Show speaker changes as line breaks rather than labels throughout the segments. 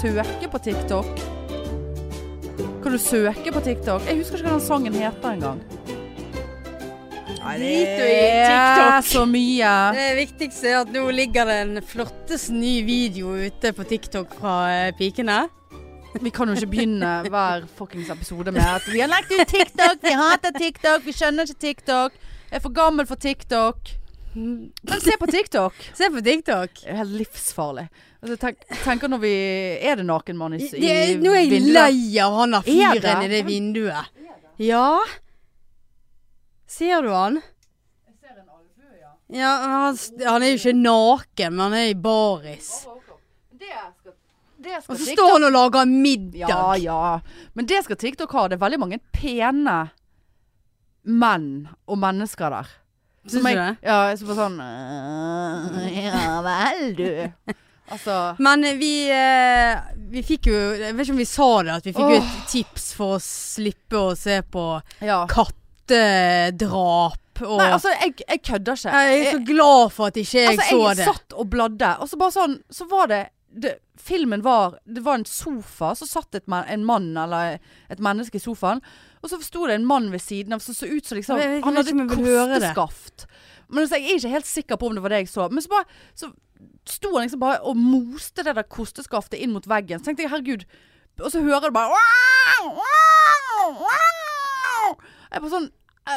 søke på TikTok. Kan du søke på TikTok? Jeg husker ikke hva den sangen heter engang.
Nei, det
Drit du i
er- altså-
TikTok så mye.
Det viktigste er at nå ligger det en flottes ny video ute på TikTok fra eh, pikene.
Vi kan jo ikke begynne hver fuckings episode med at vi har lagt ut TikTok, vi hater TikTok, vi skjønner ikke TikTok. Jeg er for gammel for TikTok. Men se på TikTok.
Se på TikTok.
Det er helt livsfarlig. Altså, tenk, tenker når vi Er det nakenmann i, i
Det, nå er jeg
vinduet?
lei av han der
Er det?
fyren i det vinduet. Ja. Ser du han? Ja, men han, han er jo ikke naken, men han er i baris.
Det skal, det skal
Og så
TikTok-
står han og lager middag.
Ja, ja. Men det skal TikTok ha. Det er veldig mange pene menn og mennesker der.
Syns
Som
du
jeg-
det?
Ja, jeg er bare sånn «Øh, Ja vel, du. Altså
Men eh, vi, eh, vi fikk jo Jeg vet ikke om vi sa det, at vi fikk jo et tips for å slippe å se på
Ja.
kattedrap og
Nei, altså, jeg, jeg kødder ikke.
Jeg er
Jeg-
så glad for at ikke jeg
altså, jeg
så det.
satt og bladde, og så bare sånn Så var det, det Filmen var Det var en sofa, så satt et man, en mann eller et menneske i sofaen, og så sto det en mann ved siden av som så ut som liksom
Jeg vet- jeg
Han
vet
hadde
ikke om jeg vil høre det.
kosteskaft. Men altså, jeg er ikke helt sikker på om det var det jeg så. Men så bare Så sto han liksom bare og moste det der kosteskaftet inn mot veggen. Så tenkte jeg herregud Og så hører du bare «Wow, wow, wow!» Jeg er bare sånn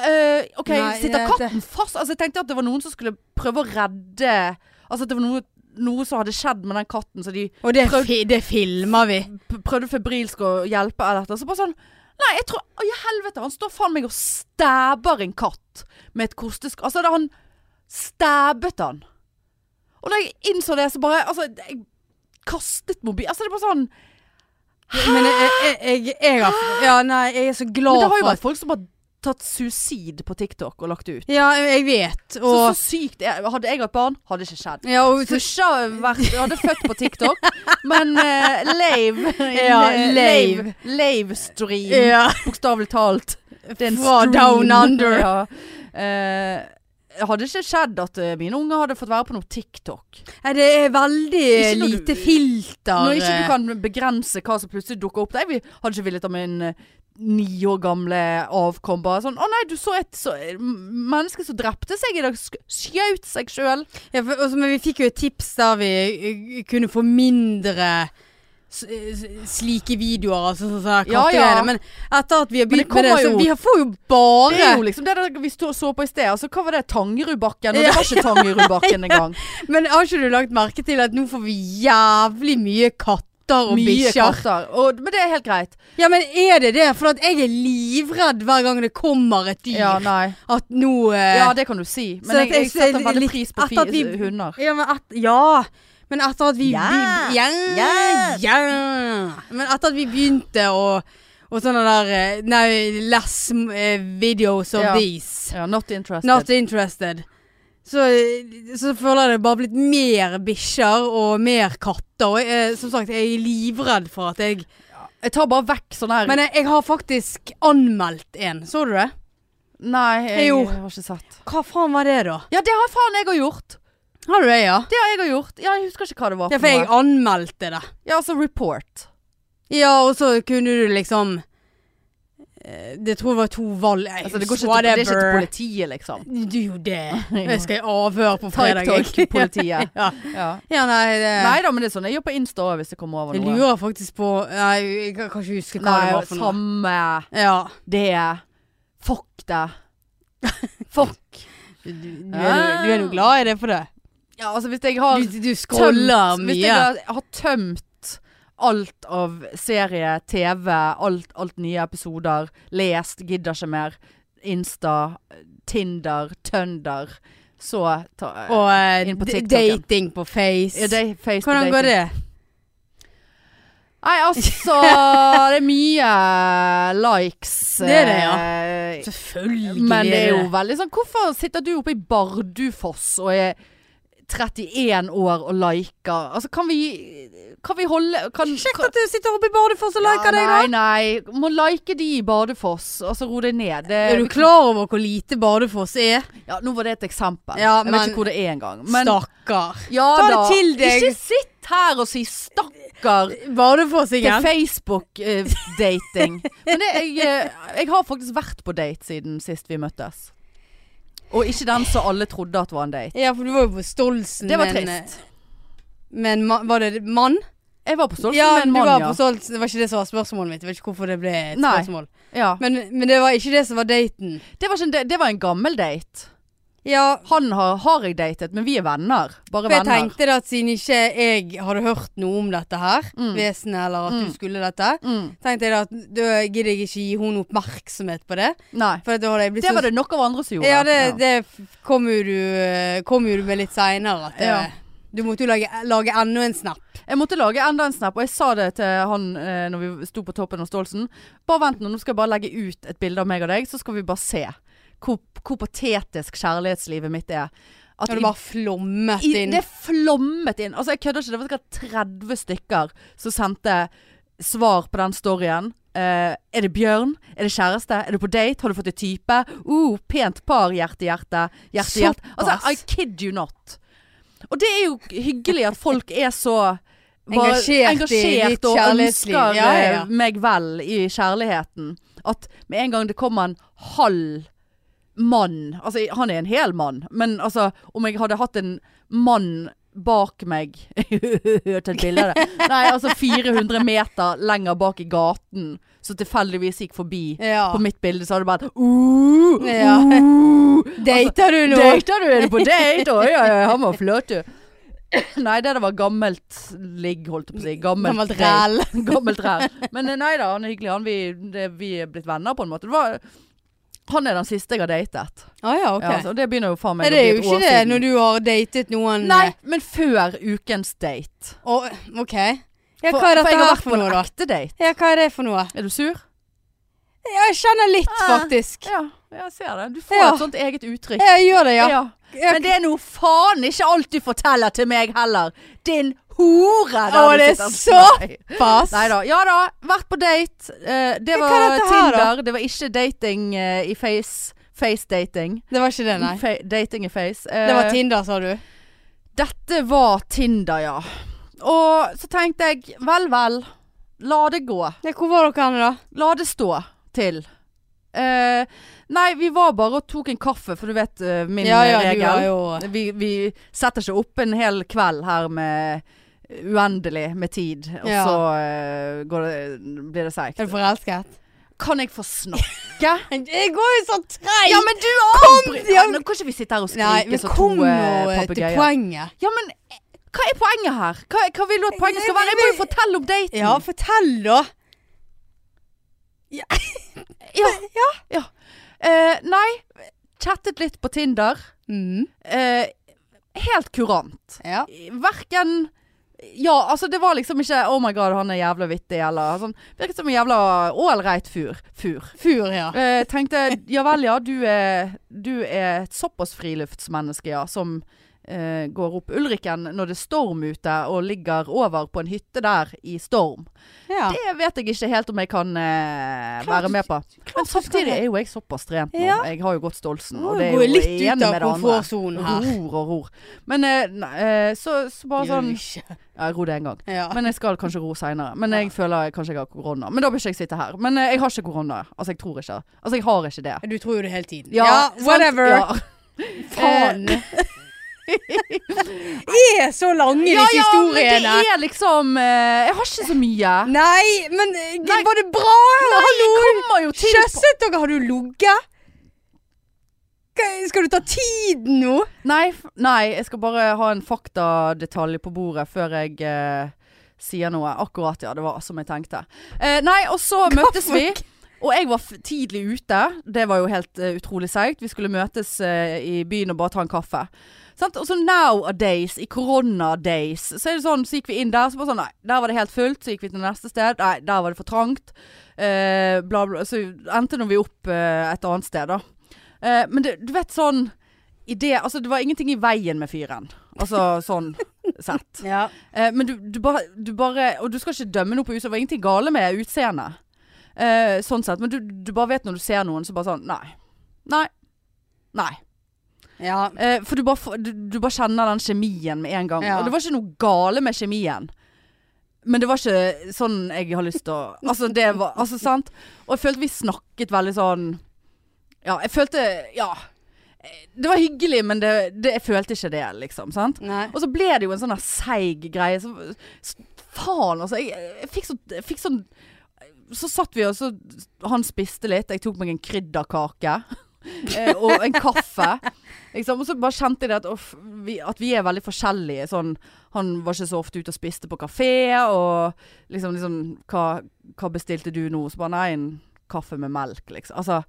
eh, OK,
Nei,
sitter
jeg-
katten fast? Altså, jeg tenkte at det var noen som skulle prøve å redde Altså at det var noe, noe som hadde skjedd med den katten, så de
Og det,
Prøv-
fi, det filmer vi.
p- prøvde febrilsk å hjelpe eller dette. Så bare sånn Nei, jeg tror Å, i helvete! Han står faen meg og stæber en katt med et kostesk... Altså, da han stæbet han. Og da jeg innså det, så bare Altså, jeg kastet mobil... Altså, det er bare sånn
Men jeg, jeg, jeg, jeg har Ja, nei, jeg er så
Men
glad
det har jo
for at
vært folk som har tatt suicid på TikTok og lagt det ut.
Ja, jeg vet.
Så,
Og
så sykt er- Hadde jeg hatt barn, hadde det ikke skjedd.
ja, og, så-
Tusja vært, hadde født på TikTok, men uh, lave
Ja, lave.
Lave stream,
ja.
bokstavelig talt. Det er en
Fra
stream.
down under.
Ja. Eh, hadde ikke skjedd at eh, mine unger hadde fått være på noe TikTok.
Nei, Det er veldig
Ikke når du-
lite filter. eh,
Når ikke du kan begrense hva som plutselig dukker opp. Jeg vil- hadde ikke villet ha min eh, ni år gamle avkom bare sånn 'Å nei, du så et så, eh, menneske som drepte seg i dag. sk- Skjøt seg sjøl.'
ja, for, også, Men vi fikk jo et tips der vi eh, kunne få mindre s- s- slike videoer. Altså, sånn sånn
Ja, ja.
kattegreiene. Men etter at vi har
Men det
begynt med det,
kommer
så
jo-
vi har- får jo
Det er jo
bare
liksom det der vi stå, så på i sted. Altså, hva var det? Tangerudbakken? Og
Ja.
det var ikke Tangerudbakken engang.
Men har ikke du lagt merke til at nå får vi jævlig mye katter og
Mye
bikkjer?
katter. Og, men det er helt greit.
Ja, men er det det? For at jeg er livredd hver gang det kommer et dyr.
Ja, nei.
At nå eh,
Ja, det kan du si.
så
Men jeg,
at jeg
jeg setter
ser
veldig
litt-
pris på
etter at
fi,
vi-
hunder.
ja, men at, ja. Men etter at vi
Ja.
vi- ja, ja.
Ja.
Men etter at vi begynte å og sånne der eh, Nei, less eh, videos of
Ja.
these.
Ja, not interested.
Not interested. Så, så føler jeg det bare blitt mer bikkjer og mer katter. Og jeg, som sagt, jeg er livredd for at jeg
jeg tar bare vekk sånn her
Men jeg, jeg har faktisk anmeldt en. Så du det?
Nei, jeg
Jo.
har ikke sett.
Hva faen var det, da?
Ja, det har faen jeg har gjort.
Har du det, ja?
Det har jeg har gjort. Ja, jeg husker ikke hva det var.
Ja,
for
for
noe.
jeg anmeldte det.
ja altså report.
Ja, og så kunne du liksom eh, Det tror jeg var to valg jeg
Altså, det, går ikke til, det
whatever.
er ikke til politiet, liksom.
Du jo det. Jeg skal i avhør på fredag. jeg.
Taiktok-politiet.
ja.
Ja.
ja, nei det
Nei da, men det er sånn jeg gjør på Insta også, hvis det kommer over
Jeg
noe.
lurer faktisk på Nei, jeg kan kan ikke huske hva
Nei,
det var for noe.
samme.
Ja.
Det er Fuck det. Fuck.
Du, du, du er jo- du er jo glad i det for det.
Ja, altså hvis jeg har
Du, du
tømt
scroller
Hvis jeg
mye.
har, har tømt alt av serie, TV, alt, alt nye episoder, lest, gidder ikke mer, Insta, Tinder, Tønder, så ta,
Og eh,
Inn på
d-
TikTok, ja.
dating på Face.
ja, det er face to
Hvordan
dating.
går det?
Nei, altså Det er mye likes.
Det er det, ja.
eh,
Selvfølgelig.
Men det er jo veldig sånn Hvorfor sitter du oppe i Bardufoss og er 31 år og liker? Altså, kan vi, kan vi holde kan,
Kjekt
kan,
at du sitter oppe i Bardufoss og liker deg, da.
Nei, nei. Må like de i Bardufoss. Altså, ro deg ned. Det,
Er du klar over hvor lite Bardufoss er?
ja, nå var det et eksempel.
Ja,
jeg vet
men-
ikke hvor det er engang. Men
Stakkar.
ja
Ta det
da.
til deg.
Ikke sitt her og si 'stakkar'. bruker til
Badefåsingen. eh,
Facebook-dating. Men det, jeg, eh, jeg har faktisk vært på date siden sist vi møttes. Og ikke den som alle trodde at var en date.
Ja, for du var jo på Stoltsen.
Det var
men-
trist.
Men ma var det mann?
Jeg var på Stoltsen
ja,
med en
du
mann,
var
ja.
på Stoltsen. Det var ikke det som var spørsmålet mitt. Jeg vet ikke hvorfor det ble et
Nei.
spørsmål.
ja.
Men, men det var ikke det som var daten.
Det, var ikke en, da- det var en gammel date.
Ja,
Han har, har jeg datet, men vi er venner. Bare
for jeg
venner.
tenkte da at siden ikke jeg hadde hørt noe om dette her,
Mm.
vesenet eller at
Mm.
du skulle dette,
Mm.
tenkte jeg da at da gidder jeg ikke gi henne oppmerksomhet på det.
Nei.
For at da hadde jeg blitt
Det var
så
det nok av andre som gjorde.
Ja, det, det f- kom jo du, eh, kom jo du med litt seinere.
Ja.
Du måtte jo lage, lage enda en snap.
Jeg måtte lage enda en snap, og jeg sa det til han eh, når vi sto på toppen av Stolsen. Bare vent nå, nå skal jeg bare legge ut et bilde av meg og deg, så skal vi bare se hvor, hvor patetisk kjærlighetslivet mitt er. At
Og
i-
det bare flommet
i,
inn.
det flommet inn. Altså, jeg kødder ikke, det var sikkert 30 stykker som sendte svar på den storyen. Eh, er det Bjørn? Er det kjæreste? Er du på date? Har du fått et type? Uh, pent par, hjerte, hjerte. Hjerte, hjerte. Altså,
Såpass.
I kid you not. Og det er jo hyggelig at folk er så bare
Engasjert i ditt
og
kjærlighetsliv.
ønsker
Ja, ja, ja.
eh, meg vel i kjærligheten. At med en gang det kommer en halv mann Altså, han er en hel mann, men altså Om jeg hadde hatt en mann bak meg Til et bilde av det. Nei, altså 400 meter lenger bak i gaten, som tilfeldigvis gikk forbi
Ja.
på mitt bilde, så hadde det bare uh,
Ja.
uh,
Data du nå?
Data du? Er du på date? Oi, oi, oi, han var flott, du. Nei, det der var gammelt ligg, holdt jeg på å si. Gammelt,
Gammelt
date.
ræl.
Gammelt ræl. Men eh, nei da, han er hyggelig. Han, vi, det, vi er blitt venner, på en måte. Det var, han er den siste jeg har datet.
Å ja, ok.
Ja, altså, og det begynner jo faen
Nei,
meg å
det
bli et
er
år
jo ikke
siden.
det når du har datet noen
Nei, men før ukens date.
eh, Og, OK. Ja, hva er dette
jeg har
her
vært
for
på
noe,
en
da?
ekte date.
Ja, hva er det for noe?
Er du sur?
Ja, jeg kjenner litt,
Ah.
faktisk.
Ja, jeg ser det. Du får
Ja.
et sånt eget uttrykk.
Ja, jeg gjør det, ja.
Ja. Men det er nå faen ikke alt du forteller til meg heller. Din hore! der
Å,
du
det er
sitter. Nei.
Pass.
Nei da. Ja da, vært på date. Eh, det
Men hva
var
er dette her, da?
Tinder. Det var ikke dating eh, i face. Face-dating.
Det var ikke det, nei.
Fa dating i face. Eh,
Det var Tinder, sa du.
dette var Tinder, ja. Og så tenkte jeg vel, vel. La det gå.
Ja, hvor var dere henne, da?
La det stå til. Eh, nei, vi var bare og tok en kaffe, for du vet eh, min
Ja, ja,
regel.
du har jo
Vi, vi setter ikke opp en hel kveld her med uendelig med tid, og
Ja.
så eh, går det, blir det seigt.
Er du forelsket?
Kan jeg få snakke?
Jeg går jo så treig!
ja, men du avbryter!
ja.
Ja, nå kan ikke vi sitte her og
Nei,
skrike
men
som to
kom nå
eh,
eh, til
papegøyer.
poenget.
Ja, men eh, hva er poenget her? Hva, hva vil du at poenget skal være? Jeg må jo fortelle om daten.
Ja, fortell, da.
ja. ja. Eh, nei, chattet litt på Tinder.
Mm.
Eh, helt kurant.
Ja.
Verken Ja, altså det var liksom ikke 'oh my god, han er jævla vittig', eller sånn. Virket som en jævla ålreit fyr. Fyr.
Fur, ja.
Eh, tenkte ja vel, ja. Du er, du er et såpass friluftsmenneske, ja, som eh, går opp Ulriken når det er storm ute, og ligger over på en hytte der i storm.
ja.
Det vet jeg ikke helt om jeg kan eh,
Klart
være
du-
med på. Men
du skal
samtidig
det.
er jo jeg såpass trent nå.
Ja.
Jeg har jo gått Stoltsen,
Nå
og det er
går jeg
jo
litt
enig
ut av
med det andre.
komfortsonen her.
Ror og ror. Men eh, nei, eh, så, så bare
Gjør
sånn
du
Ja,
ikke.
jeg rodde en gang.
Ja.
Men jeg skal kanskje ro seinere. Men jeg føler jeg kanskje jeg har korona. Men da bør ikke jeg sitte her. Men eh, jeg har ikke korona. Altså, jeg tror ikke. Altså, jeg har ikke det.
Du tror jo det hele tiden.
Ja, sant?
whatever.
Ja.
Faen.
Eh,
Det er så lange,
Ja,
disse
ja, men
historiene.
det er liksom eh, Jeg har ikke så mye.
Nei, men eh,
Nei.
var det bra?
Nei, jeg kommer jo til på
Kjøsset dere? Har du ligget? Hva- Skal du ta tiden nå?
Nei, f- nei, jeg skal bare ha en faktadetalj på bordet før jeg eh, sier noe. Akkurat, ja. Det var som jeg tenkte. Eh, nei, og så møttes vi. Og jeg var f tidlig ute. Det var jo helt eh, utrolig seigt. Vi skulle møtes eh, i byen og bare ta en kaffe. Sant? Og så nowadays, i koronadays, så er det sånn, så gikk vi inn der, så bare sånn, nei, der var det helt fullt, så gikk vi til neste sted, nei, der var det for trangt, eh, bla bla, så endte nå vi opp eh, et annet sted da. Eh, men det, du vet sånn, i det, altså det var ingenting i veien med fyren, altså sånn sett.
Ja.
Eh, men du, du, bare, du bare Og du skal ikke dømme noe på utseendet. Det var ingenting gale med utseendet. Eh, sånn sett. Men du, du bare vet når du ser noen, så bare sånn Nei. Nei. Nei.
ja.
Eh, for du bare, får- du, du bare kjenner den kjemien med en gang.
Ja.
Og det var ikke noe gale med kjemien. Men det var ikke sånn jeg har lyst til å Altså, det var Altså, sant? Og jeg følte vi snakket veldig sånn Ja, jeg følte Ja. Det var hyggelig, men det, det, jeg følte ikke det, liksom. Sant?
Nei.
Og så ble det jo en sånn der seig greie. Så, s- faen, altså. Jeg, jeg fikk så, jeg fikk sånn Så satt vi og så Han spiste litt. Jeg tok meg en krydderkake. eh, og en kaffe. Liksom. Og så bare kjente jeg det at, off, vi, at vi er veldig forskjellige. Sånn, han var ikke så ofte ute og spiste på kafé, og liksom, liksom hva, hva bestilte du nå? Så bare nei, en kaffe med melk, liksom. Altså,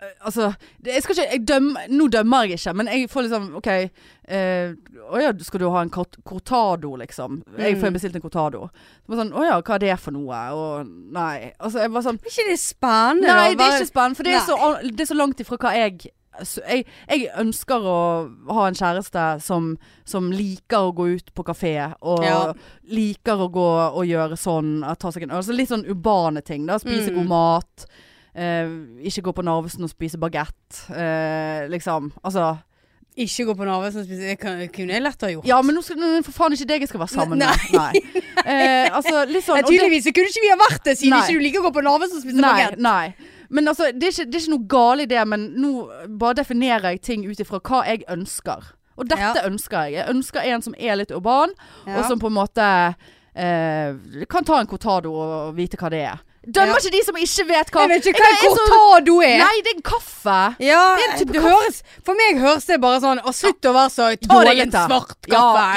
eh, altså det, jeg skal ikke jeg dømme, Nå dømmer jeg ikke, men jeg får liksom OK eh, Å ja, skal du ha en cort- cortado, liksom? Jeg får
Mm.
bestilt en cortado. Så bare sånn Å ja, hva er det for noe? Og nei. Altså, jeg var sånn
Er ikke det spennende?
Nei,
da?
det er
Bare-
ikke spennende, for det er,
Nei.
så, det er så langt ifra hva jeg så jeg, jeg ønsker å ha en kjæreste som, som liker å gå ut på kafé, og
Ja.
liker å gå og gjøre sånn, eh, ta seg en øl. Så litt sånn urbane ting. da Spise
Mm.
god mat, eh, ikke gå på Narvesen og spise bagett. Eh, liksom. Altså
Ikke gå på Narvesen og spise Det kan- kunne jeg lett ha gjort.
Ja, men nå skal, nå- for faen ikke deg jeg skal være sammen med. Nei. Eh, altså, litt sånn
Nei,
og det-
tydeligvis så kunne ikke vi ha vært det, siden
Nei.
ikke du liker å gå på Narvesen og spise
Nei,
bagett.
nei. Men altså, det er, ikke, det er ikke noe galt i det, men nå bare definerer jeg ting ut ifra hva jeg ønsker. Og dette ønsker jeg. Jeg ønsker en som er litt urban, og som på en måte eh, kan ta en cortado og vite hva det er. Dømmer
Ja.
ikke de som ikke vet hva
Jeg vet ikke
Jeg-
hva
jeg er
en
så-
cortado er.
Nei, det er en kaffe!
Ja, eh,
Det er en type
det høres, for meg høres det bare sånn Å, slutt å være så
Ta
dårlig
deg
en
etter.
svart kaffe.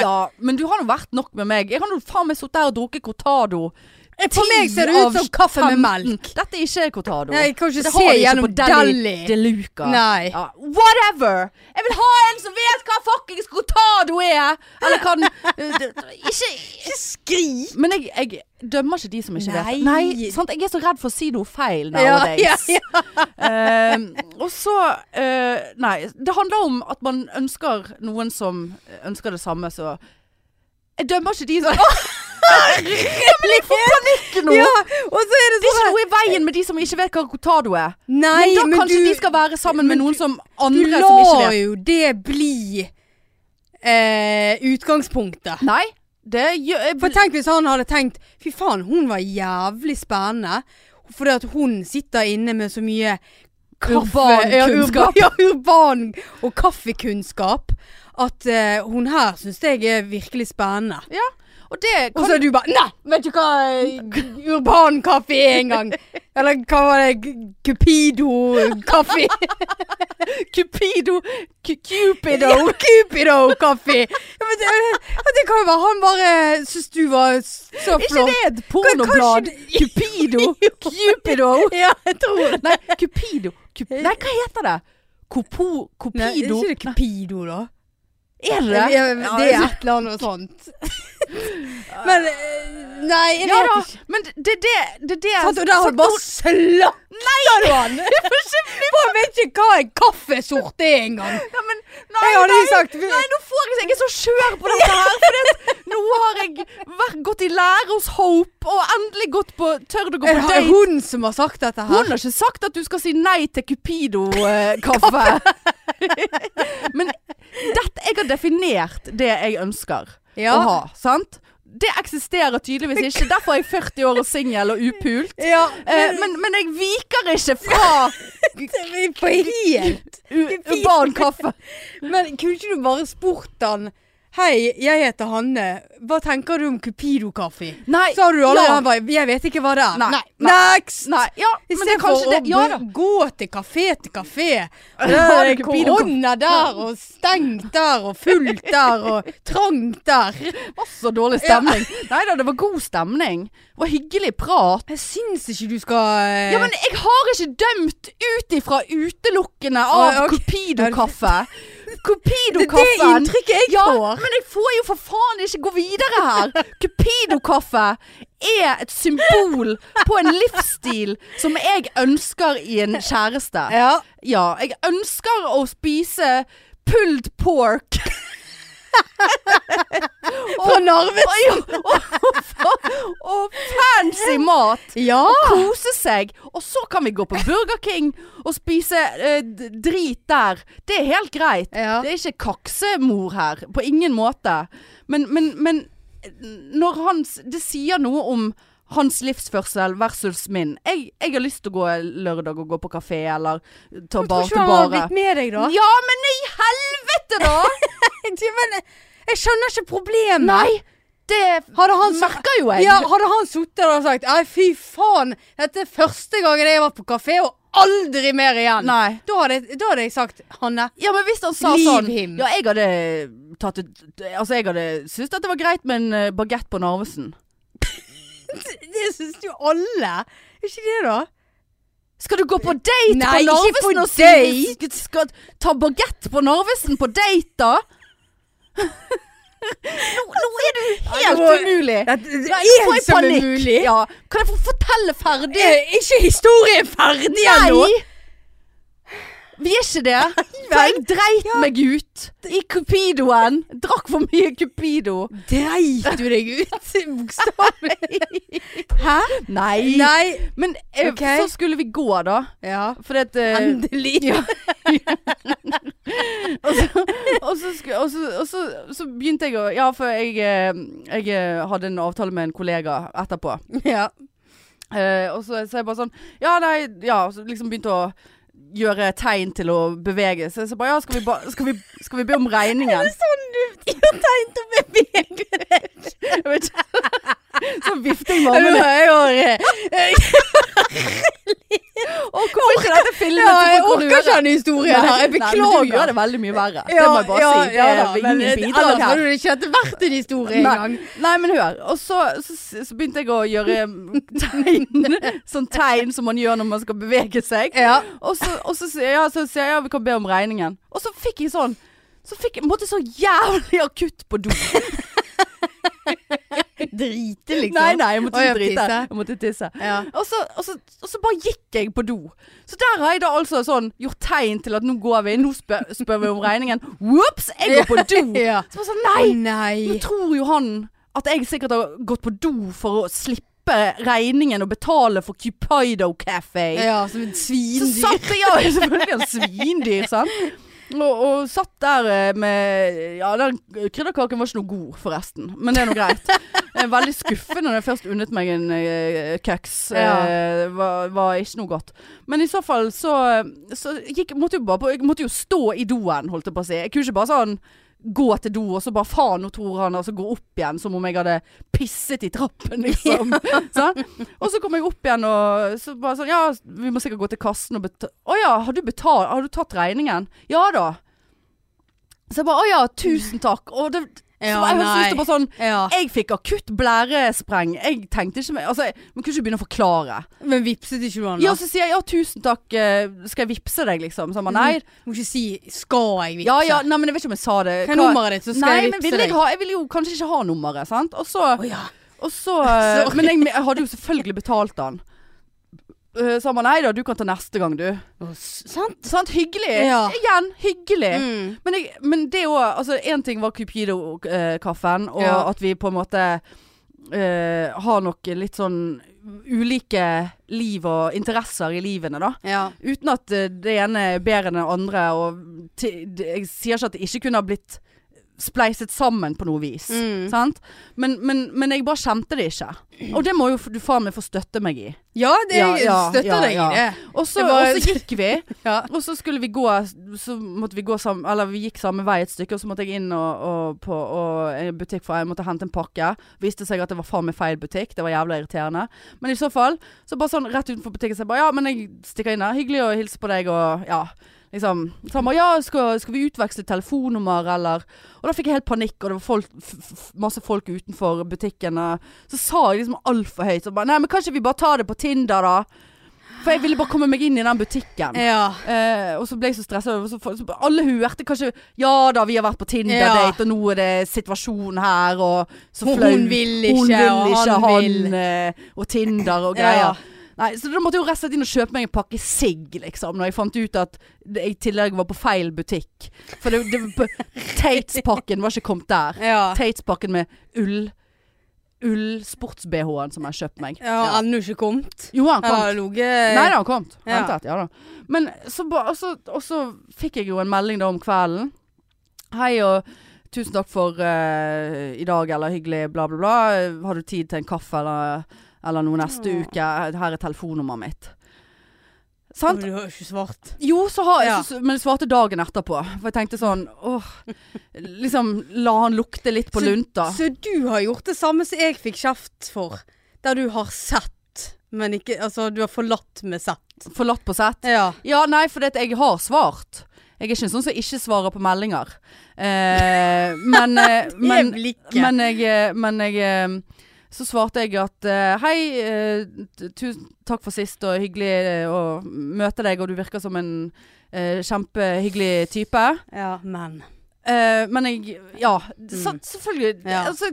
Ja, ja, men du har nå vært nok med meg. Jeg har nå faen meg sittet her og drukket cortado.
Eh, For meg ser det
Ti
ut som
av
kaffe med
15.
melk.
Dette er ikke cortado.
Nei, jeg kan ikke
Det
se
har de ikke
gjennom
på
Deli.
De Luca.
Nei.
Ja, whatever! Jeg vil ha en som vet hva fuckings cortado er! Eller kan eh, Ikke
Ikke skrik!
Men jeg, jeg dømmer ikke de som ikke
Nei.
vet. Nei, sant? Jeg er så redd for å si noe feil
Ja,
nowadays.
ja, ja.
Ehm, og så eh, Nei. Det handler om at man ønsker noen som ønsker det samme, så Jeg dømmer ikke de som Åh, Ikke noe!
Ja, og så er det
Det er
sånn
ikke noe i veien med de som ikke vet hva cortado er.
Nei,
men da
men
kanskje
du,
de skal være sammen med
men
noen
du-
som
du
andre som ikke
lar
vet.
jo det bli eh, utgangspunktet.
Nei, det eh, gjør jeg,
For tenk hvis han hadde tenkt Fy faen, hun var jævlig spennende. Fordi at hun sitter inne med så mye
Urban
ja, urba-
kunnskap.
Ja, urban og kaffekunnskap. At eh, hun her syns jeg er virkelig spennende.
Og det
Og
kan
så er du bare Nei, vet du hva eh, urban kaffe er engang? Eller hva var det? Gu- Cupido-kaffe?
Cupido cu- Cupido
Cupido-kaffe! Ja, men det, det kan jo være han bare syns du var så
Er ikke
flott.
det et pornoblad? Cupido? Cupido?
Ja, jeg tror det.
Nei, Cupido Cup Nei, hva heter det? Kopo...
Nei, er
Copido?
ikke det Cupido, da?
Er
Ja,
det
Det er
Ja, altså,
et eller annet sånt. Men eh, Nei, jeg
Ja
vet
da,
ikke.
men det det, det, det
Sant, og der har
sant,
du bare slakta du han! Han vet ikke hva en kaffesort er engang.
Ja, men, nei,
Jeg hadde
nei,
jo sagt
Nei, nå får jeg Jeg er så skjør på dette her. For det, at nå har jeg vært, gått i lære hos Hope, og endelig gått på Tør du gå
Eh, Er
på
det
date?
hun som har sagt dette
Hun
her?
har ikke sagt at du skal si nei til Cupido-kaffe. Men dette Jeg har definert det jeg ønsker
Ja.
å ha, sant? Det eksisterer tydeligvis ikke. Derfor er jeg 40 år og singel og upult.
Ja,
Eh, men, men jeg viker ikke fra
men på helt
u urban kaffe.
Men kunne ikke du bare spurt han Hei, jeg heter Hanne. Hva tenker du om Cupido-kaffe?
Nei.
Så har du allerede
ja.
han bare Jeg vet ikke hva det er.
Nei,
Next!
Nei, ja, men det
I
er
stedet
kanskje
for å
det. Ja da.
gå- gå til kafé til kafé. Og
Ja,
da er
det
det
er Cupido-kaffe.
korona der, og stengt der, og fullt der, og trangt der.
Masse dårlig stemning. Nei da, det var god stemning. Det var hyggelig prat.
Jeg syns ikke du skal eh,
Ja, men jeg har ikke dømt ut ifra utelukkende av
Ah, ok.
Cupido-kaffe.
Det er det
Cupido-kaffen.
inntrykket jeg
Ja,
får.
men jeg får jo for faen ikke gå videre her. Cupido-kaffe er et symbol på en livsstil som jeg ønsker i en kjæreste.
Ja.
Ja, jeg ønsker å spise pulled pork.
Fra Narve
Og, og, og fancy mat.
Ja!
Kose seg. Og så kan vi gå på Burger King og spise eh, d- drit der. Det er helt greit.
Ja.
Det er ikke kaksemor her. På ingen måte. Men, men, men når hans, Det sier noe om hans livsførsel versus min. Jeg, jeg har lyst til å gå lørdag og gå på kafé eller ta bar til
han hadde
bare.
blitt med deg, da?
Ja, men i helvete, da!
Jeg, men, eh, jeg skjønner ikke problemet.
Nei! Det
Hadde han så-
merker jo jeg.
Ja, hadde han sittet der og sagt Nei, fy faen, dette er første gangen jeg har vært på kafé, og aldri mer igjen.
Nei.
Da, hadde, da hadde jeg sagt Hanne.
Ja, men hvis han sa
Leave
sånn
him.
Ja, jeg hadde tatt et Altså, jeg hadde syntes at det var greit med en eh, bagett på Narvesen.
Det syns jo alle. Er ikke det, da?
Skal du gå på date
Nei,
på
ikke
Narvesen
på
og si-
date.
sk- Skal ta bagett på Narvesen på date, da? nå, nå er du
Ja,
helt
det var-
umulig.
Dette- Det
Nei,
er
nå får
én
jeg
som er
panikk.
mulig.
Ja. Kan jeg få fortelle ferdig?
Er ikke historien ferdig ennå?
Nei! Vi er ikke det. For jeg dreit meg ut i Cupidoen. Drakk for mye Cupido.
Dreit du deg ut? Bokstavelig. Hæ?
Nei.
Nei.
Men eh,
Ok.
så skulle vi gå, da.
Ja.
Fordi at eh,
Endelig.
Og, så, sku- og, så, og så, så begynte jeg å Ja, for jeg, eh, jeg eh, hadde en avtale med en kollega etterpå.
Ja.
Eh, og så sa jeg bare sånn Ja, nei Ja, så liksom begynte å gjøre tegn til å bevege seg. Så jeg bare Ja, skal vi, ba, skal vi, skal vi be om regningen?
Sånn du gjør tegn til å bevege deg.
Jeg vet ikke. så vifter jeg med
Jeg
armene.
har
Å, hvorfor ikke dette filmet?
Ja, jeg
så fort kan du
orker
gjøre
ikke
det?
den historien her. Jeg
Nei, men du gjør
beklager.
det veldig mye verre. det må jeg bare si. Det er ingen bidrag
Ellers
her.
hadde det ikke hatt vært en historie engang.
Nei, men hør. Og så, så, så begynte jeg å gjøre tegn, sånn tegn som man gjør når man skal bevege seg.
Ja.
Og så, og så sier jeg ja, så sier jeg, ja, vi kan be om regningen. Og så fikk jeg sånn Så fikk jeg måtte så jævlig akutt på do.
Drite, liksom.
Nei, nei, jeg måtte
Å, ja,
ikke drite.
tisse.
Jeg måtte tisse.
Ja.
Og så, og, så, og så bare gikk jeg på do. Så der har jeg da altså sånn gjort tegn til at nå går vi, nå spør, spør vi om regningen. Whoops, jeg går på do!
Ja.
Så bare sånn,
Å,
nei! Nå
nei.
tror jo han at jeg sikkert har gått på do for å slippe regningen og betale for Cupido Café.
Ja, som et
Så
svindyr.
satt jeg ja, selvfølgelig en svindyr, sant. Og, og satt der eh, med Ja, den krydderkaken var ikke noe god, forresten. Men det er nå greit. Jeg er veldig skuffende når jeg først unnet meg en eh, keks.
Ja.
Eh, var, var ikke noe godt. Men i så fall så, så gikk, måtte jo bare på, Jeg måtte jo stå i doen, holdt jeg på å si. Jeg kunne ikke bare sånn gå til do, og så bare faen, nå tror han altså gå opp igjen, som om jeg hadde pisset i trappen, liksom. Sånn? Og så kom jeg opp igjen og så bare sånn Ja, vi må sikkert gå til kassen og betale Å ja, har du betalt? Har du tatt regningen? Ja da. Så jeg bare Å ja, tusen takk. Og det, så
Ja,
jeg syntes
nei.
det bare sånn
Ja.
jeg fikk akutt blærespreng. Jeg tenkte ikke mer altså, jeg- Man kunne ikke begynne å forklare.
"Eh, Men vipset ikke du han,
Ja,
Sånn, da?
så sier jeg ja, tusen takk, eh, skal jeg vippse deg, liksom? Så
Mhm.
han bare nei.
Må ikke si 'skal jeg vipse'?
Ja ja, nei, men jeg vet ikke om jeg sa det.
Hva er
Hva-
nummeret ditt, så skal
Nei,
jeg
men
vipse
ville jeg,
deg?
ha, jeg ville jo kanskje ikke ha nummeret, sant. Og så,
Å, ja.
og så eh,
Sorry.
Men jeg, jeg hadde jo selvfølgelig betalt han. Eh, Så han bare nei da, du kan ta neste gang, du.
Å, s- Sant?
Sant, hyggelig.
Ja.
Igjen, hyggelig.
Mm.
Men, jeg, men det òg Altså, én ting var Cupido-kaffen, og
Ja.
at vi på en måte eh, har nok litt sånn ulike liv og interesser i livene, da.
Ja.
Uten at eh, det ene er bedre enn det andre, og ti- det- jeg sier ikke at det ikke kunne ha blitt spleiset sammen på noe vis.
Mm.
Sant? Men, men, men jeg bare kjente det ikke. Og det må jo f- du faen meg få støtte meg i.
Ja, det
Ja, ja,
støtter
ja,
deg i
ja.
det.
Og så
Det var-
og så gikk vi.
Ja.
Og så skulle vi gå Så måtte vi gå sammen Eller vi gikk samme vei et stykke Og så måtte jeg inn og, og, på og en butikk For jeg måtte hente en pakke Viste seg at det var faen meg feil butikk Det var jævla irriterende Men i så fall Så bare sånn rett utenfor butikken Så jeg bare Ja, men jeg stikker inn her Hyggelig å hilse på deg Og ja Liksom Så han bare Ja, skal, skal vi utveksle telefonnummer eller Og da fikk jeg helt panikk Og det var folk, f f masse folk utenfor butikken og Så sa jeg liksom alt for høyt Så bare Nei, men kanskje vi bare tar det på Tinder da For jeg ville bare komme meg inn i den butikken
ja.
Eh, og så ble jeg så stressa. og så for- så Alle hørte kanskje Ja da, vi har vært på Tinder-date, og nå er det situasjon her, og så
Hun-
flau.
hun vil ikke,
hun vil
og
ikke,
han vil.
eh, og Tinder og
Ja.
greier. Nei, så da måtte jeg jo rett og slett inn og kjøpe meg en pakke sigg, liksom. Når jeg fant ut at det- jeg i tillegg var på feil butikk. For det, det, på- Tates-pakken var ikke kommet der.
Ja.
Tates-pakken med ull Ull-sports-BH-en som jeg har kjøpt meg.
ja. Ennå ikke kommet?
Jo, han kom.
Eller ligget
Nei, det har kommet.
Eh, Ja.
Hentet, ja da. Men så, ba, og så, og så fikk jeg jo en melding da om kvelden. Hei, og 'Tusen takk for eh, i dag', eller 'hyggelig', bla, bla, bla. 'Har du tid til en kaffe eller, eller noe neste
Ja.
uke?' 'Her er telefonnummeret mitt'.
Men
Sant?
Du har jo ikke svart.
Jo, så har jeg,
Mm. Ja.
så, men jeg svarte dagen etterpå. For jeg tenkte sånn åh, Liksom la han lukte litt på
Så-
lunta.
Så du har gjort det samme som jeg fikk kjeft for. Der du har sett, men ikke Altså, du har forlatt med sett.
Forlatt på sett.
Ja.
Ja, nei, for det at jeg har svart. Jeg er ikke en sånn som ikke svarer på meldinger. Eh, men, eh,
Men,
men, men jeg, eh, men jeg eh, Så svarte jeg at eh, hei, eh, t- tusen takk for sist og hyggelig eh, å møte deg, og du virker som en eh, kjempehyggelig type.
Ja, men.
Eh, men jeg Ja, så,
Mm.
selvfølgelig.
Ja.
Altså,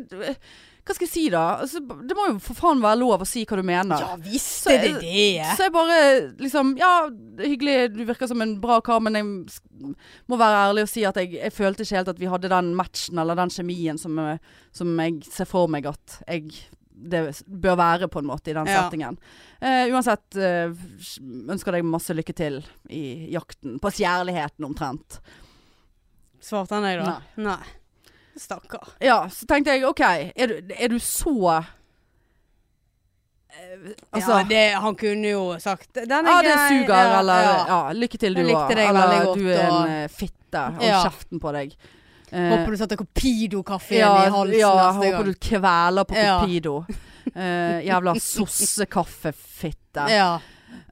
hva skal jeg si da? Altså, det må jo for faen være lov å si hva du mener.
Ja visst
Så-
er det det.
Så jeg bare liksom Ja, hyggelig, du virker som en bra kar, men jeg sk- må være ærlig og si at jeg, jeg følte ikke helt at vi hadde den matchen eller den kjemien som, eh, som jeg ser for meg at jeg det s- bør være på en måte i den
Ja.
settingen. Eh, uansett eh, s- ønsker deg masse lykke til i jakten på kjærligheten omtrent.
Svarte han deg, da? Nei. Stakkar.
Ja, så tenkte jeg OK, er du, er du så eh, Altså
ja, det, han kunne jo sagt Den
Ja, det
grei,
suger,
ja,
eller
ja.
ja. lykke til du
Jeg likte
også.
deg veldig
Eller
godt,
du er en
og-
eh, fitte, og
Ja.
kjeften på deg. Eh,
Håper du satte Copido-kaffen
ja,
i halsen
ja,
neste
håper
gang.
du kveler på
Ja.
Copido. Eh, jævla sossekaffefitte.
Ja.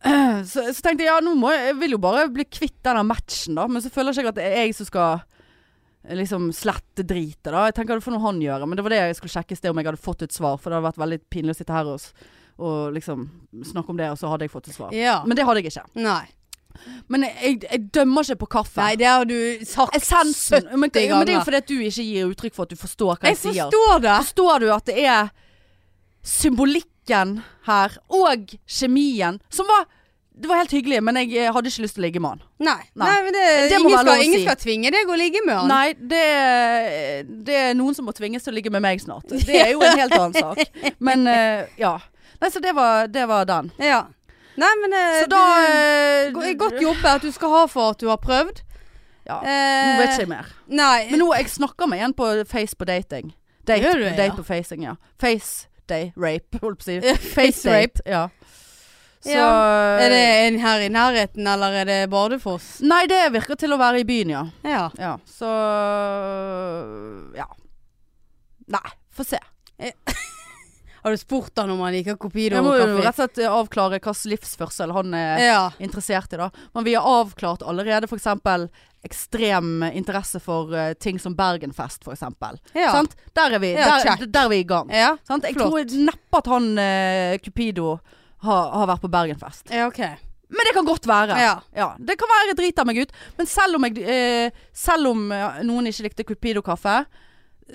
Så, så tenkte jeg ja, nå må jeg, jeg vil jo bare bli kvitt denne matchen, da. Men så føler jeg ikke at det er jeg som skal eh, liksom slette dritet, da. Jeg tenker det får noe han gjøre, men det var det jeg skulle sjekke i sted om jeg hadde fått et svar. For det hadde vært veldig pinlig å sitte her og, s- og liksom snakke om det, og så hadde jeg fått et svar.
ja.
Men det hadde jeg ikke.
Nei.
Men jeg, jeg, jeg dømmer ikke på kaffe.
Nei, det har du sagt
Essensen.
70
Men, men det er jo
ganger.
fordi at du ikke gir uttrykk for at du forstår hva jeg,
Jeg
sier.
forstår det.
Forstår du at det er symbolikken her, og kjemien, som var Det var helt hyggelig, men jeg eh, hadde ikke lyst til å ligge med han.
Nei.
Nei.
Nei, men det,
Det må
ingen,
være lov
skal,
å
ingen
si.
skal tvinge deg å ligge med han.
Nei, det, er- det er noen som må tvinges til å ligge med meg snart. Det er jo en helt annen sak. Men eh, ja. Nei, så det var, det var den.
Ja. Nei, men eh,
Så da eh,
du, go- Godt jobbet at du skal ha for at du har prøvd.
Ja,
Eh,
Nå vet ikke jeg mer.
Nei.
Men nå, jeg snakker med en på Face på dating. Date,
Gjør du det,
date
ja?
på facing, ja. Face day rape, holdt på å si. Face rape. Ja. Så
er det
Eh,
en her i nærheten, eller er det Bardufoss?
Nei, det virker til å være i byen, ja.
Ja.
ja. Så Ja. Nei, få se.
Har du spurt han om han liker Copido
Jeg må jo
kaffe?
rett og slett avklare hva slags livsførsel han er
Ja.
interessert i, da. Men vi har avklart allerede f.eks. ekstrem interesse for eh, ting som Bergenfest, f.eks.
Ja.
Sant? Der er vi,
Ja,
der,
check.
der er vi i gang.
ja.
Sant? Jeg
Flott.
tror neppe at han eh, Cupido har, har vært på Bergenfest.
Ja, OK.
Men det kan godt være.
Ja.
det kan være jeg driter meg ut. Men selv om, jeg, eh, selv om eh, noen ikke likte Cupido-kaffe,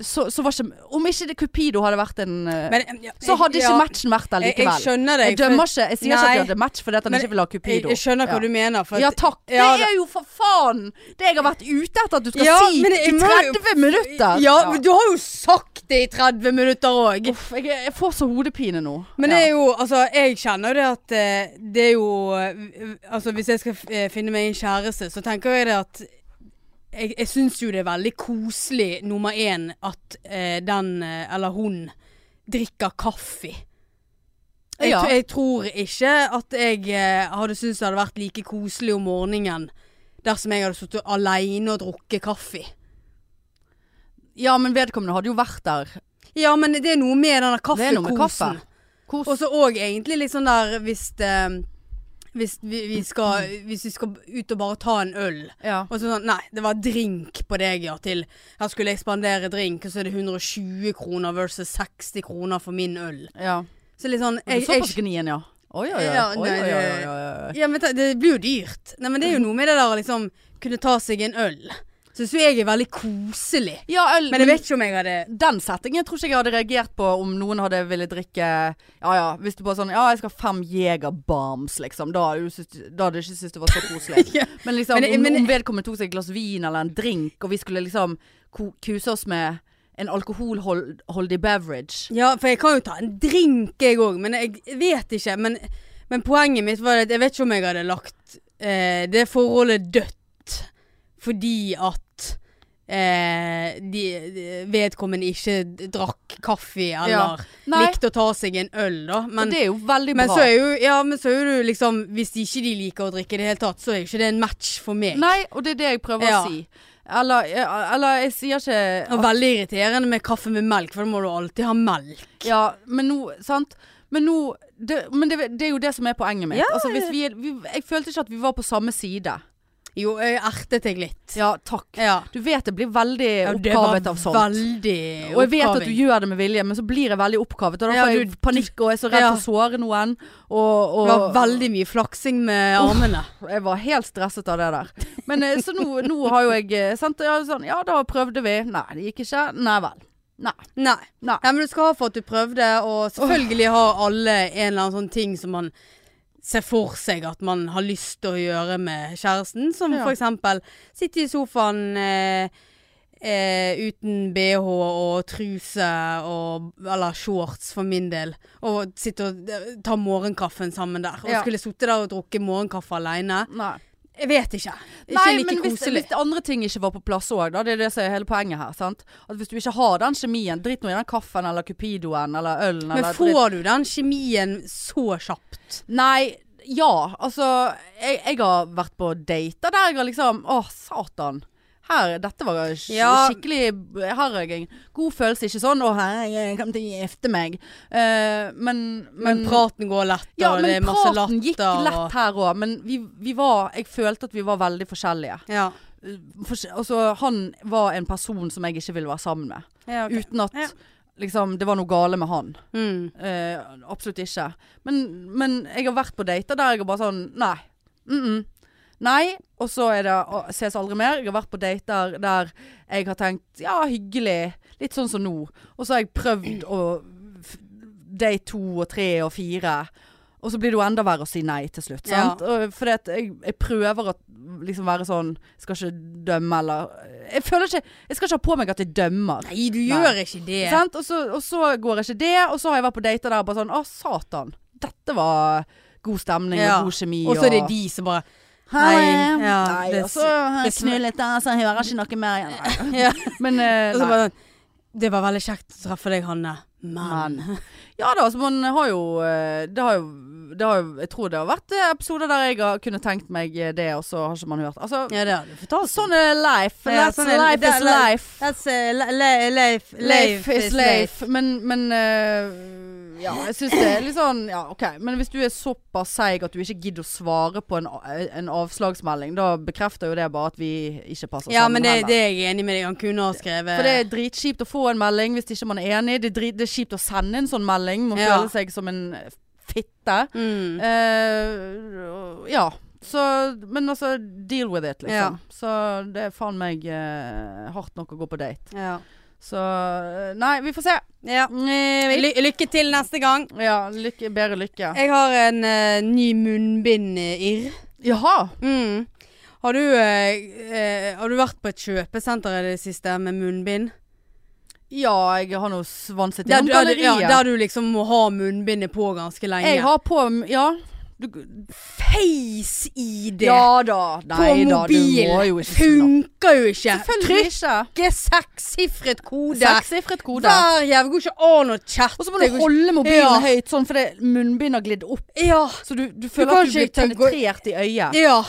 så, så var ikke Om ikke det Cupido hadde vært en eh,
Men, ja,
Så hadde
jeg-
ikke
ja,
matchen vært der
jeg- Jeg
likevel. Jeg,
skjønner deg. for-
dømmer ikke. Jeg sier ikke at de
Nei.
hadde match fordi at han
Men
ikke ville ha
Jeg,
Cupido.
jeg skjønner hva
Ja.
du mener. For
ja
at-
takk.
Ja,
det er jo for faen det jeg har vært ute etter at du skal
Ja,
si
men jeg
i
må jo-
30 minutter.
Ja, men du har jo sagt det i 30 minutter òg.
Uff, jeg, jeg får så hodepine nå.
Men
Ja.
det er jo, altså, jeg kjenner jo det at eh, det er jo eh, Altså, hvis jeg skal eh, finne meg en kjæreste, så tenker jeg det at Jeg, jeg syns jo det er veldig koselig, nummer én, at eh, den eh, eller hun drikker kaffe. Jeg,
Ja.
tr- jeg tror ikke at jeg eh, hadde syntes det hadde vært like koselig om morgenen dersom jeg hadde sittet aleine og drukket kaffe.
ja, men vedkommende hadde jo vært der
Ja, men det er noe med den der
Det er noe med
kaffekosen.
kaffe. Kos.
Og så òg egentlig litt sånn der hvis det, hvis vi, vi skal Hvis vi skal ut og bare ta en øl
ja.
Og så sånn Nei, det var drink på deg, ja. Til Her skulle jeg spandere drink, og så er det 120 kroner versus 60 kroner for min øl.
ja.
Så litt sånn
Jeg,
jeg, jeg,
gnien, ja. Oi, oi, oi.
Ja,
oi,
nei,
oi,
det-
oi, oi, oi.
Ja, men det det blir jo dyrt. Nei, men det er jo noe med det der å liksom kunne ta seg en øl. Syns jo jeg er veldig koselig.
Ja, øl,
Men jeg vet ikke om jeg hadde
den settingen tror ikke jeg hadde reagert på om noen hadde ville drikke Ja ja, hvis du bare sånn Ja, jeg skal ha fem Jegerbombs, liksom. Da, hadde du syntes- da hadde jeg ikke syntes det var så koselig.
Ja.
Men liksom,
Men det- men-
om, om vedkommende tok seg et glass vin eller en drink, og vi skulle liksom ko- kuse oss med en alkoholholdig beverage
Ja, for jeg kan jo ta en drink jeg òg, men jeg vet ikke. Men, men poenget mitt var at jeg vet ikke om jeg hadde lagt eh, det forholdet dødt fordi at eh, de, de, vedkommende ikke drakk kaffe
Ja.
eller
Nei.
likte å ta seg en øl, da.
Men,
Men,
det er jo veldig
men,
bra.
så er jo, ja, men så er jo liksom Hvis de ikke de liker å drikke i det hele tatt, så er jo ikke det en match for meg.
Nei, og det er det jeg prøver
Ja.
å si. Eller, eller jeg sier ikke
Og veldig irriterende med kaffe med melk, for da må du alltid ha melk.
Ja, men nå, sant Men, nå, det, men det, det er jo det som er poenget mitt
Ja,
altså, hvis vi, er- vi, Jeg følte ikke at vi var på samme side
Jo, jeg ertet deg litt.
Ja, takk
Ja.
Du vet jeg blir veldig
Ja, det var
oppkavet av sånt
Veldig
Og jeg vet at du
oppkaving.
gjør det med vilje Men så blir jeg veldig oppkavet Og da
Ja,
får jeg
du-
panikk og jeg er så redd
Ja.
for å såre noen og, og,
Det var veldig mye flaksing med armene.
Jeg var helt stresset av det der Men eh, så nå, nå har jo jeg eh, sant, ja, sånn, ja, da prøvde vi Nei, det gikk ikke Nei vel Nei
Nei.
Nei.
men du skal ha for at du prøvde, og selvfølgelig har alle en eller annen sånn ting som man ser for seg at man har lyst til å gjøre med kjæresten. Som
Ja.
for eksempel sitte i sofaen eh, eh, uten bh og truse og, eller shorts for min del. Og sitte og eh, ta morgenkaffen sammen der. Og
Ja.
skulle sitte der og drukke morgenkaffe aleine.
Nei
Jeg vet ikke. Ikke
Nei,
like
men hvis,
koselig.
hvis det andre ting ikke var på plass òg, da. Det er det som er hele poenget her. sant? At Hvis du ikke har den kjemien, drit nå i den kaffen eller cupidoen eller ølen
Men
eller drit-
får du den kjemien så kjapt?
Nei, ja. Altså, jeg, jeg har vært på dater der jeg har liksom Å, satan. Her, dette var sk
Ja.
skikkelig Her har jeg en god følelse. Ikke sånn 'Å, hei, jeg kommer til å gifte meg'. Eh, men,
Men
men
praten går lett, og
Ja,
det er
men
masse latter.
praten gikk lett her òg. Men vi, vi var Jeg følte at vi var veldig forskjellige.
Og, ja.
fors- altså, han var en person som jeg ikke ville være sammen med.
Ja, ok.
Uten at
Ja.
liksom, det var noe gale med han.
Mm.
Eh, absolutt ikke. Men, men jeg har vært på dater der jeg har bare sånn Nei. Mm -mm. Nei. Og så er det å, ses aldri mer. Jeg har vært på dater der jeg har tenkt ja, hyggelig. Litt sånn som nå. Og så har jeg prøvd å f- Date to og tre og fire. Og så blir det jo enda verre å si nei til slutt.
Ja.
Sant? Og Fordi at jeg, jeg prøver å liksom være sånn Skal ikke dømme, eller Jeg føler ikke Jeg skal ikke ha på meg at jeg dømmer.
Nei, du
Nei.
gjør ikke det.
Sant? Og, så, og så går ikke det, og så har jeg vært på dater der og bare sånn Å, satan. Dette var god stemning
Ja.
og god kjemi.
Og så er det de som bare Nei,
Nei,
ja,
nei,
det-
og så har jeg
det-
knullet der, så jeg hører ikke noe mer igjen. Nei.
Ja.
Men eh,
Og
nei.
så bare, sånn, Det var veldig kjekt å treffe deg, Hanne. Men
Men. Ja da, altså man har jo eh, Det har jo, det har jo Jeg tror det har vært eh, episoder der jeg har kunne tenkt meg eh, det, og så har ikke man hørt. Altså,
Ja, det har du fortalt.
sånn er life.
Ja,
That's
sånn er-
life
det er
is
li-
life.
That's uh, life,
Life is life. Men, men eh, Ja, jeg syns det er litt sånn Ja, OK. Men hvis du er såpass seig at du ikke gidder å svare på en, en avslagsmelding, da bekrefter jo det bare at vi ikke passer
Ja,
sammen
men det,
Sånn heller.
det er jeg enig med deg. Han kunne ha skrevet
For det er dritkjipt å få en melding hvis ikke man er enig. Det er, drit, det er kjipt å sende en sånn melding. Må
Ja.
føle seg som en fitte.
mm.
Eh, ja. Så, men altså, deal with it, liksom.
Ja.
Så det er faen meg eh, hardt nok å gå på date.
ja.
Så eh, Nei, vi får se. Eh,
Ja.
Ly-
Ly lykke til neste gang.
Ja, lykke, bedre lykke.
Jeg har en eh, ny munnbind-irr.
Jaha.
Mm. Har, du, eh, eh, har du vært på et kjøpesenter i det siste med munnbind?
Ja, jeg har nå svanset
Der,
gjennom
du- der, du- ja,
galleriet.
der du liksom må ha munnbindet på ganske lenge.
jeg har på Ja. Du,
face-ID
ja da.
på
Nei da, du
mobil.
må jo ikke
Funker jo ikke.
Selvfølgelig ikke.
Trykke sekssifret kode.
Sekssifret kode.
Hver jævla går ikke an å chatte.
Og så må du holde mobilen
Ja.
høyt, sånn fordi munnbind har glidd opp.
Ja.
Så du, du
kan
føler at du
ikke
blir
tenke-
penetrert i øyet.
ja.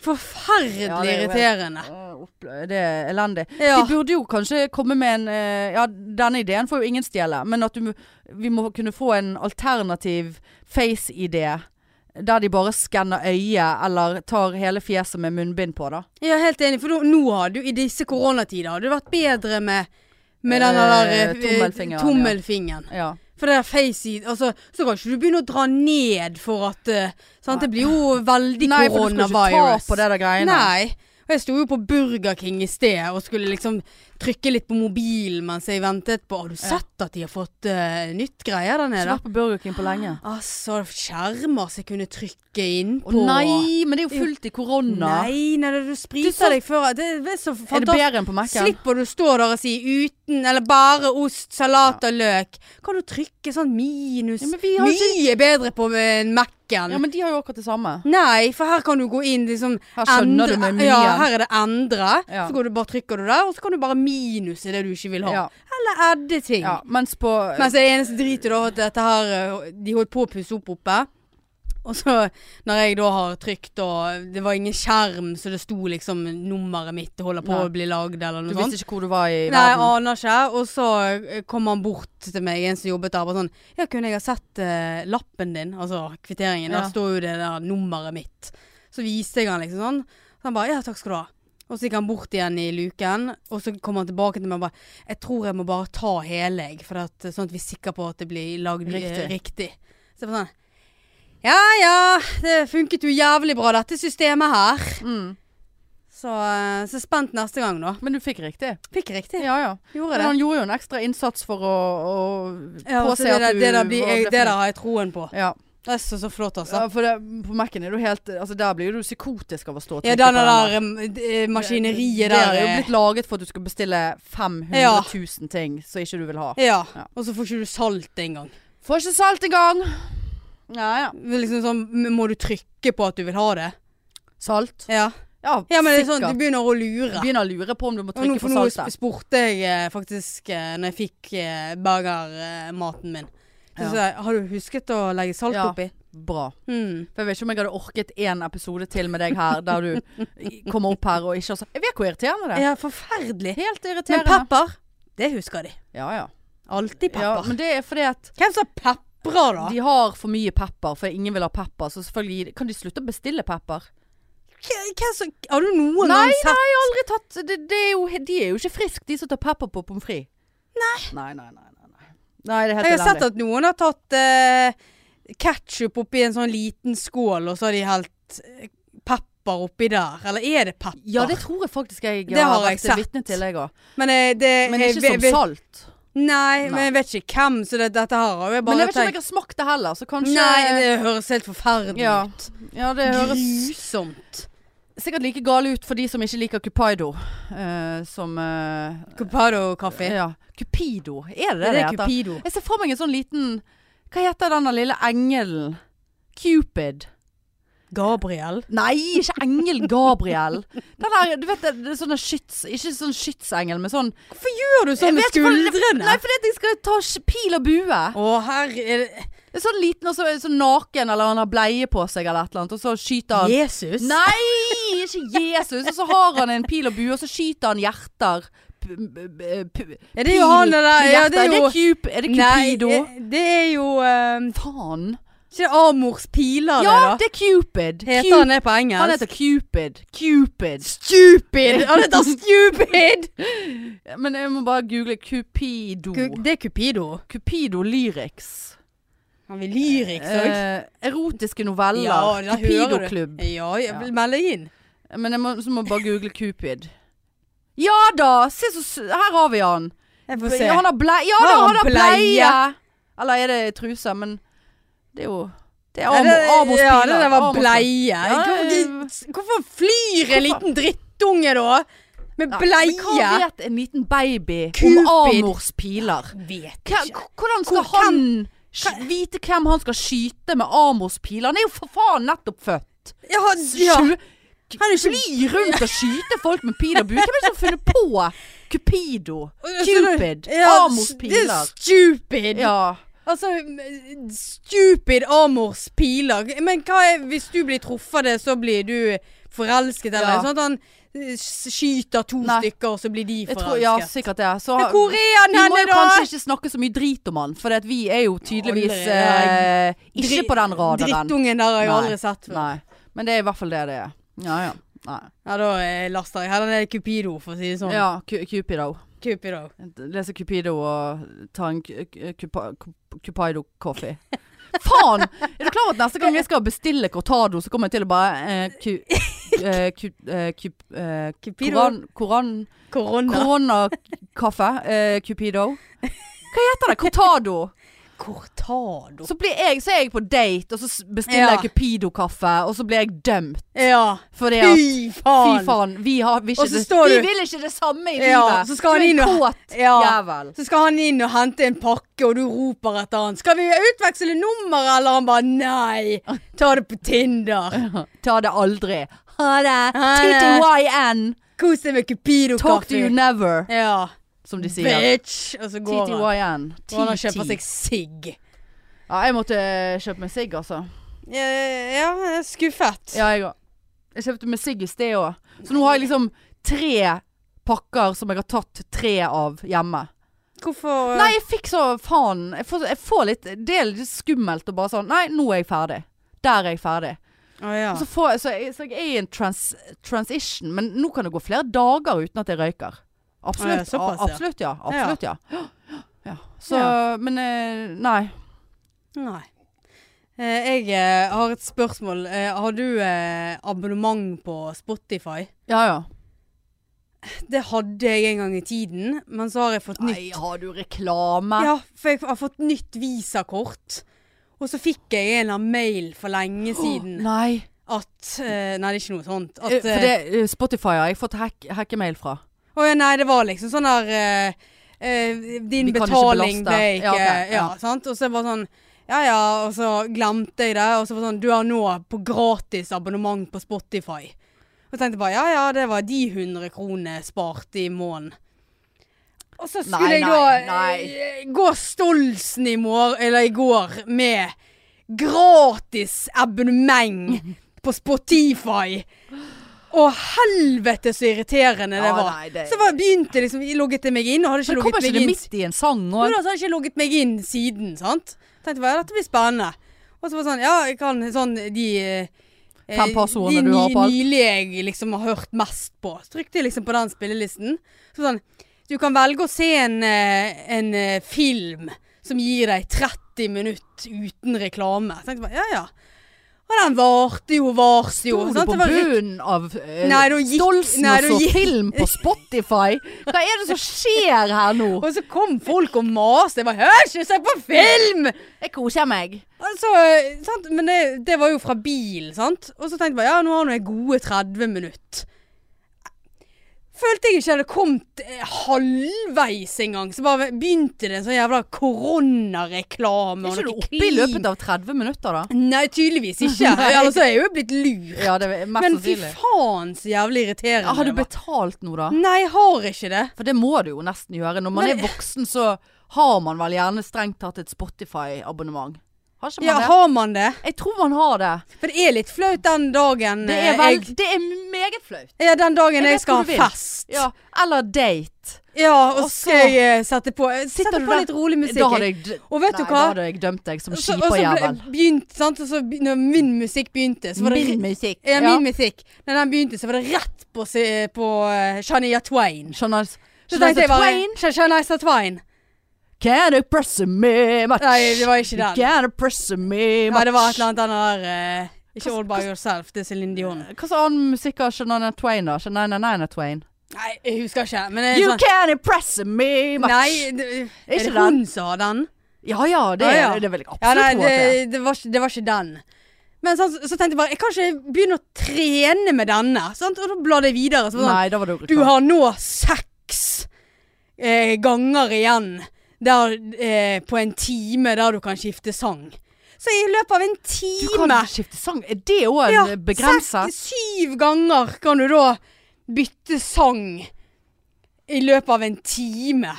Forferdelig
Ja, det er jo helt-
irriterende.
Åh, opplø- eh, Det er elendig.
Ja.
De burde jo kanskje komme med en eh, Ja, denne ideen får jo ingen stjele, men at du, må- vi må kunne få en alternativ face-idé. Der de bare skanner øyet, eller tar hele fjeset med munnbind på, da.
Jeg er helt enig, for nå- nå har du i disse koronatider har det vært bedre med med den
Eh,
der eh,
tommelfingeren, ja.
tommelfingeren.
Ja.
For det der face-ID altså, Så kan ikke du begynne å dra ned for at eh, sant? Det blir jo veldig
Nei, for du skal ikke ta
coronavirus.
på det der greiene.
Nei. Og jeg sto jo på Burger King i sted og skulle liksom trykke litt på mobilen mens jeg ventet på Har du sett at de har fått eh, nytt greie der
Jeg har
nede?
vært på Burger King på lenge.
Altså, skjermer som jeg kunne trykke inn
Å
på.
nei, men det er jo fullt i korona.
Nei, nei, du
Du så-
spriter deg før Det er så
Er det
fantastisk.
bedre enn på Mac-en?
Slipper du stå der og si 'uten uten eller bare ost, salat og løk. Kan du trykke sånn minus
Ja, men vi har
Mye
ikke-
bedre på eh, Mac-en.
Ja, men de har jo akkurat det samme.
Nei, for her kan du gå inn liksom
Her skjønner du med menyen.
Ja, her er det endre.
Ja.
Så går du bare trykker du der, og så kan du bare minus i det du ikke vil ha.
Ja,
Eller edde ting.
ja. Mens på
Mens det eneste dritet da var at dette her eh, De holdt på å pusse opp oppe. Og så når jeg da har trykt og Det var ingen skjerm, så det sto liksom nummeret mitt det holder på
Nei.
å bli lagd eller
Du
noe sånt.
visste ikke hvor du var i
Nei, jeg
verden.
aner ikke. Og så eh, kom han bort til meg, en som jobbet der, bare sånn Ja, kunne jeg ha sett eh, lappen din? Altså kvitteringen.
Ja.
Der står jo det der nummeret mitt. Så viste jeg han liksom sånn. Så han bare Ja, takk skal du ha. Og så gikk han bort igjen i luken, og så kom han tilbake til meg og bare Jeg tror jeg må bare ta hele, jeg, for at, sånn at vi er sikre på at det blir lagd
Riktig.
riktig. riktig. Så jeg var sånn Ja ja, det funket jo jævlig bra, dette systemet her.
Mm.
Så, eh, så spent neste gang, da.
Men du fikk riktig.
Fikk riktig.
Ja, ja.
Gjorde
Men
det.
han gjorde jo en ekstra innsats for å, å
Ja,
påse
så det,
at
der-
du
det, der blir,
var
jeg, det
bløffende.
der har jeg troen på.
Ja.
Det er så, så flott, altså.
ja, for det, på Mac-en er du helt Altså, der blir du psykotisk av å stå og
Ja,
trykke
den
på
der em, d- eh, maskineriet der.
Det er jo
eh,
blitt laget for at du skal bestille 500
Ja.
000 ting som ikke du vil ha.
Ja.
Ja.
Og så får ikke du salt engang.
Får ikke salt engang! Ja, ja.
Det er Liksom sånn, m- må du trykke på at du vil ha det?
Salt?
Ja,
Ja,
ja men det er sånn,
sikkert.
du begynner å lure.
Begynner å lure på om du må
Og nå,
trykke
for
på
nå
saltet.
sp- spurte jeg eh, faktisk eh, når jeg fikk eh, burgermaten min. Så
Ja.
sa jeg har du husket å legge salt
Ja.
oppi?
Bra.
Mm.
For jeg vet ikke om jeg hadde orket én episode til med deg her, der du kommer opp her og ikke har sagt Jeg vet hvor irriterende det er.
Ja, forferdelig.
Helt
Men
irriterende.
pepper, det husker de.
ja, ja.
Alltid
ja,
pepper.
men det er fordi at
Hvem som peprer, da?
de har for mye pepper, for ingen vil ha pepper. Så selvfølgelig gir de- kan de slutte å bestille pepper.
Hva- hva som- Har du noen
Nei,
gang sett
Jeg har aldri tatt det, det er jo, De er jo ikke friske, de som tar pepper på pommes frites. Nei. Nei, nei, nei. nei. Nei, det er helt
Jeg har sett
elendig.
at noen har tatt uh, ketsjup oppi en sånn liten skål, og så har de helt eh, pepper oppi der. Eller er det pepper?
Ja, det tror jeg faktisk jeg
Det har jeg
vært
sett.
vitne til, jeg òg.
men eh, det
Men ikke
jeg,
som
vet-
salt.
Nei, men
Nei.
jeg vet ikke hvem, så det, dette her har jeg
Men
bare
jeg vet ikke om jeg har smakt det heller, så kanskje
Nei, det høres helt forferdelig
Ja.
ut.
ja, det høres
Grusomt.
sikkert like gale ut for de som ikke liker Cupido eh, som eh,
Copado-kaffe.
ja. Cupido, er det det det
Er det
heter?
Cupido?
Jeg ser for meg en sånn liten Hva heter denne lille engelen? Cupid.
Gabriel?
Nei, ikke engel Gabriel. Den der, du vet, det, det er sånne skyts... Ikke sånn skytsengel, men sånn
Gjør du sånn med
Jeg vet ikke hva det- Nei,
skuldrene?
fordi at jeg skal ta sk- pil og bue.
Å, herre er det-
Det er Sånn liten og så, sånn naken, eller han har bleie på seg eller et eller annet, og så skyter han
Jesus?
Nei, ikke Jesus! Og så har han en pil og bue, og så skyter han hjerter. P p p
Ja, det er jo han der-
pil i
ja, det er
hjertet.
jo-
Cup- er det Cupido?
Nei, det- det er jo eh,
Faen.
Ikke det Amors
Ja,
piler, det da?
det er Cupid.
Heter
Cup-
han det på engelsk?
Han heter Cupid. Cupid.
Stupid! Han heter Stupid!
Men jeg må bare google Cupido.
det er Cupido.
Cupido lyrics.
Han vil lyriks òg.
Eh, erotiske noveller. Cupidoklubb.
Ja, ja,
Ja.
meld deg inn.
Men jeg må, så må jeg bare google Cupid. Ja da! Se så s- Her har vi han.
Jeg får se.
Han har bleie. Ja
Har
da,
han
han har bleie!
bleie?
Eller er det truse? Men det er jo Det er
Ja, det-
Amo- Amos
Ja,
piler.
det der var
Amos-
bleie.
Ja,
Hvorfor-
eh,
Hvorfor flyr en
hvorfor-
liten drittunge da? Med
Nei, Men hva
bleie?
vet en liten baby
Cupid.
om Amors piler?
Vet
Hva- Hvordan skal
Hvor-
han sk- vite hvem han skal skyte med Amors piler? Han er jo for faen nettopp født!
Ja, han- ja.
Sju-
Han er jo ikke
Fly rundt og skyte folk med pil og bue? Hvem er det som har funnet på Cupido? Cupid?
Ja,
Amors
Det
piler?
er stupid.
Ja.
Altså, stupid Amors piler. Men hva er, hvis du blir truffet av det, så blir du forelsket, eller
Ja.
sånn at han eh, s- skyter to
Nei.
stykker, og så blir de
Jeg tror,
forelsket.
ja, sikkert det. Så
Men Hvor er han
vi må
henne
jo
da?
kanskje ikke snakke så mye drit om han, for det at vi er jo tydeligvis
Allerede.
eh, ikke på den radaren.
Drittungen der har jeg
Nei.
aldri sett før.
Nei. Men det er i hvert fall det det er. Ja ja. Nei.
Ja, da eh, laster jeg heller ned Cupido, for å si det sånn.
Ja, Cu- Cupido.
Cupido.
Lese Cupido og ta en cu- cu- cupa- cu- Cupido coffee. Faen! Er du klar over at neste gang jeg skal bestille cortado, så kommer jeg til å bare eh, ku, eh, ku, eh, ku, eh,
Cupido.
koran, koran,
Korona.
Koronakaffe. Eh, Cupido. Hva heter det? Cortado.
cortado.
Så blir jeg, så er jeg på date, og så s- bestiller
Ja.
jeg Cupido-kaffe, og så blir jeg dømt.
Ja.
Fordi at
Fy
Fy
faen.
faen, vi, har, vi, ikke
Og så
det-
står
vi
du-
vil ikke det samme i
Ja,
livet.
så skal
du
han
er
inn
en
og-
kåt
Ja.
jævel.
Så skal han inn og hente en pakke, og du roper etter han. 'Skal vi utveksle nummer?' Eller han bare 'nei, ta det på Tinder'.
Ta det aldri. Ha det.
Ha det.
TTYN.
Kos deg med
Talk to you
Cupido-kaffe.
never,
Ja.
som de sier.
Bitch. Og så går han.
TTYN.
Og han har kjøpt
TT.
seg sigg.
Ja, jeg måtte eh, kjøpe meg sigg, altså.
Ja, jeg er skuffet.
Ja, jeg òg. Jeg kjøpte meg sigg i sted òg. Så nå har jeg liksom tre pakker som jeg har tatt tre av hjemme.
Hvorfor eh,
Nei, jeg fikk så faen jeg får, jeg får litt Det er litt skummelt å bare sånn Nei, nå er jeg ferdig. Der er jeg ferdig.
Å, ja.
Og Så, får, jeg- så, jeg, så jeg er i en trans, transition, men nå kan det gå flere dager uten at jeg røyker. Absolutt.
Å ja, såpass,
a-
ja.
absolutt, ja. Absolutt, ja. ja. Så,
Ja.
men eh, nei.
Nei. Eh, Jeg eh, har et spørsmål. Eh, Har du eh, abonnement på Spotify?
Ja, ja.
Det hadde jeg en gang i tiden, men så har jeg fått nytt.
Nei, har du reklame?
Ja, for jeg har fått nytt visakort. Og så fikk jeg en eller annen mail for lenge siden
Nei.
at eh, Nei, det er ikke noe sånt. At,
Eh, For
eh,
det, eh, Spotify har jeg fått hack, hackemail fra.
Å ja, nei, det var liksom sånn der eh, eh, Din
Vi kan ikke
betaling
belaste.
ble ikke
Ja,
ja,
ok,
ja,
ja.
sant? Og så var det sånn Ja ja, og så glemte jeg det. Og så var det sånn Du har nå på gratis abonnement på Spotify. Og tenkte bare ja ja, det var de 100 kronene jeg sparte i måneden. Og så skulle
Nei,
jeg
nei,
da
nei.
eh, gå Stolsen i, mor, eller i går med gratis abonnement på Spotify. Å, helvete så irriterende det
Ja,
var.
nei, det-
Så bare begynte liksom, logget jeg meg inn, og
Men
hadde ikke
kommer
logget
ikke det
meg inn.
midt i en sang
Jo
òg?
da, så hadde jeg sånn ikke logget meg inn siden, sant? Tenkte bare, ja, dette blir spennende. Og så var det sånn, ja, jeg kan sånn, de... eh,
Fem personer
de
du har på alt.
ny- nylig jeg liksom har hørt mest på. Så trykte jeg liksom på den spillelisten. Så sånn, du kan velge å se en, eh, en eh, film som gir deg 30 minutter uten reklame. Så tenkte jeg bare, ja, ja. Og den varte jo, varte jo.
Sto du
sant?
på
Det var rik-
bunnen av eh,
Nei, da gikk-
Stolsen
nei, da
og så
gikk-
film på Spotify? Hva er det som skjer her nå?
Og så kom folk og maste. Jeg bare 'Hør, ikke se på film!'
Jeg koser meg.
Altså, sant? Men det, det var jo fra bil, sant? Og så tenkte jeg bare 'Ja, nå har nå jeg gode 30 minutter'. Følte jeg ikke hadde kommet eh, halvveis engang. Så bare begynte det en sånn jævla koronareklame.
Er
og
ikke du
noe
oppe i
klin.
løpet av 30 minutter, da?
Nei, tydeligvis ikke.
Nei.
Ellers er jeg jo blitt lur.
Ja, det er mest
Men fy
sannsynlig.
faen så jævlig irriterende.
Ja, har du
det var.
betalt nå, da?
Nei, jeg har ikke det.
For det må du jo nesten gjøre. Når man
Men-
er voksen, så har man vel gjerne strengt tatt et Spotify-abonnement. Har ikke man
Ja,
det?
har man det?
Jeg tror man har det.
For det er litt flaut den dagen
Det
eh,
er, vel,
jeg
det er meget flaut.
Ja, den dagen
Jeg
jeg,
vet
skal
hvor du
ha
vil.
fest. Ja,
Ja, eller date. Og
og så
så-
skal jeg eh, sette på, sette
du
på
der?
litt rolig musikk.
Da hadde jeg, d-
Og vet
nei,
du hva?
da hadde jeg dømt deg som
Så- og så ble-
skiperjævel.
begynte, sant, og så be- når min musikk begynte, så var det
Min musikk.
ja, min musikk. Når den begynte, så var det rett på, se- på eh, Shania Twain.
Skjønner du?
Så tenkte jeg bare
Twain?
Sh- Shania Twain.
Can you press me much?
Nei, det var ikke den.
Can you press me much?
Ja, det var et eller annet den der eh, Ikke
Hva-
All By Yourself, det er Céline Dion.
Hva slags annen musikk har Shania Twain, da? Shania Nina Twain?
Nei, jeg husker ikke. Men det er
You
sånn
can impress me much.
Nei, det, er
Ikke
det hun som har den?
Ja ja, det,
Ja, ja.
det vil jeg absolutt
Ja, nei,
tro at
det,
det er.
det, var ikke, det var ikke den. Men sånn, så tenkte jeg bare, jeg kan ikke begynne å trene med denne. Sant? Og da bladde jeg videre. Så var det
Nei, da var det jo
sånn, du har nå seks eh, ganger igjen der, eh, på en time der du kan skifte sang. Så i løpet av en
Du
time
kan skifte sang. Er det òg en eh, begrenset?
seks- syv ganger kan du da bytte sang i løpet av en time.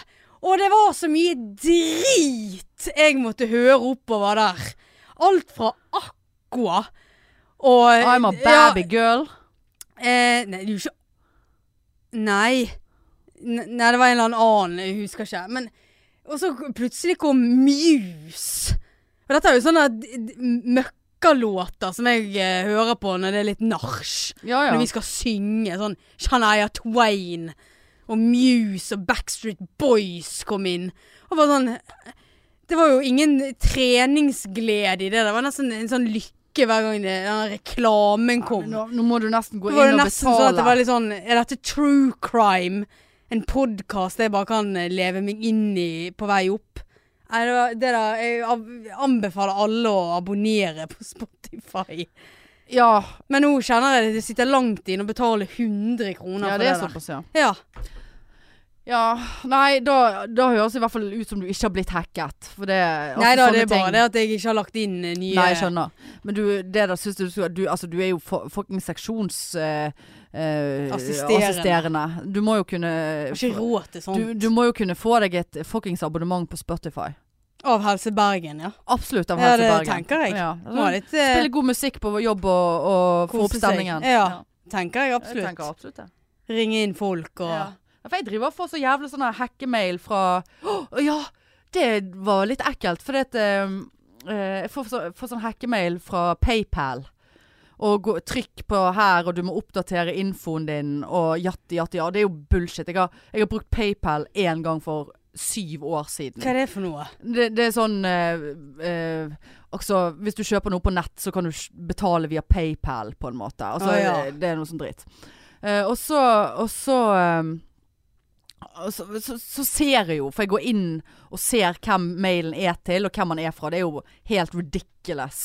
Og det var så mye drit jeg måtte høre oppover der. Alt fra Aqua og
I'm a
Ja,
baby girl.
eh, nei, det er jo ikke Nei. N- Nei, det var en eller annen, jeg husker ikke. Men Og så plutselig kom Muse. Og dette er jo sånne d- d- møkkalåter som jeg eh, hører på når det er litt nach.
Ja ja.
Når vi skal synge sånn Shania Twain og Muse og Backstreet Boys kom inn. Og var sånn Det var jo ingen treningsglede i det. Det var nesten en sånn lykke hver gang det, den reklamen kom.
Nå, nå må du nesten gå
Det
inn
var jo
og
nesten sånn at det var
betale.
litt sånn Er dette true crime? En podkast jeg bare kan eh, leve meg inn i på vei opp? Nei, det var det der Jeg ab- anbefaler alle å abonnere på Spotify.
Ja,
Men nå kjenner jeg det, det sitter langt inne å betale 100 kroner
ja
for
det
det,
er
der.
såpass, ja.
Ja.
Ja, nei, da, da høres det i hvert fall ut som du ikke har blitt hacket. For det altså,
Nei da, det
sånne
er bare
ting-
det at jeg ikke har lagt inn eh, nye
Nei, jeg skjønner. Men du, det der syns du skulle du, Altså, du er jo fo- fucking seksjons... eh, eh,
Assisterende.
assisterende. Du må jo kunne
Jeg har ikke råd til sånn. sånt.
du, du må jo kunne få deg et fuckings abonnement på Spotify.
Av Helse Bergen, ja.
Absolutt av
Ja,
Helse
det
Bergen.
tenker jeg.
Ja.
Må ha litt eh,
Spille god musikk på jobb og, og få
Kose
opp
seg.
stemningen.
Ja, tenker jeg
Jeg tenker
absolutt.
absolutt det.
Ringe inn folk og
Ja. Ja, For jeg driver og får så jævlig sånn her hackemail fra Å ja! Det var litt ekkelt, fordi at eh, eh, Jeg får, så, får sånn hackemail fra PayPal. Og gå, trykk på her, og du må oppdatere infoen din, og jatti, jatti, ja. Det er jo bullshit. Jeg har, jeg har brukt PayPal én gang for syv år siden.
Hva er det for noe?
Det, det er sånn eh, eh, Altså, hvis du kjøper noe på nett, så kan du sj- betale via PayPal, på en måte. Altså,
Å, Ah, ja.
det, det er noe sånn dritt. Eh, og så Og så eh, og så, så, så ser jeg jo, for jeg går inn og ser hvem mailen er til, og hvem han er fra. Det er jo helt ridiculous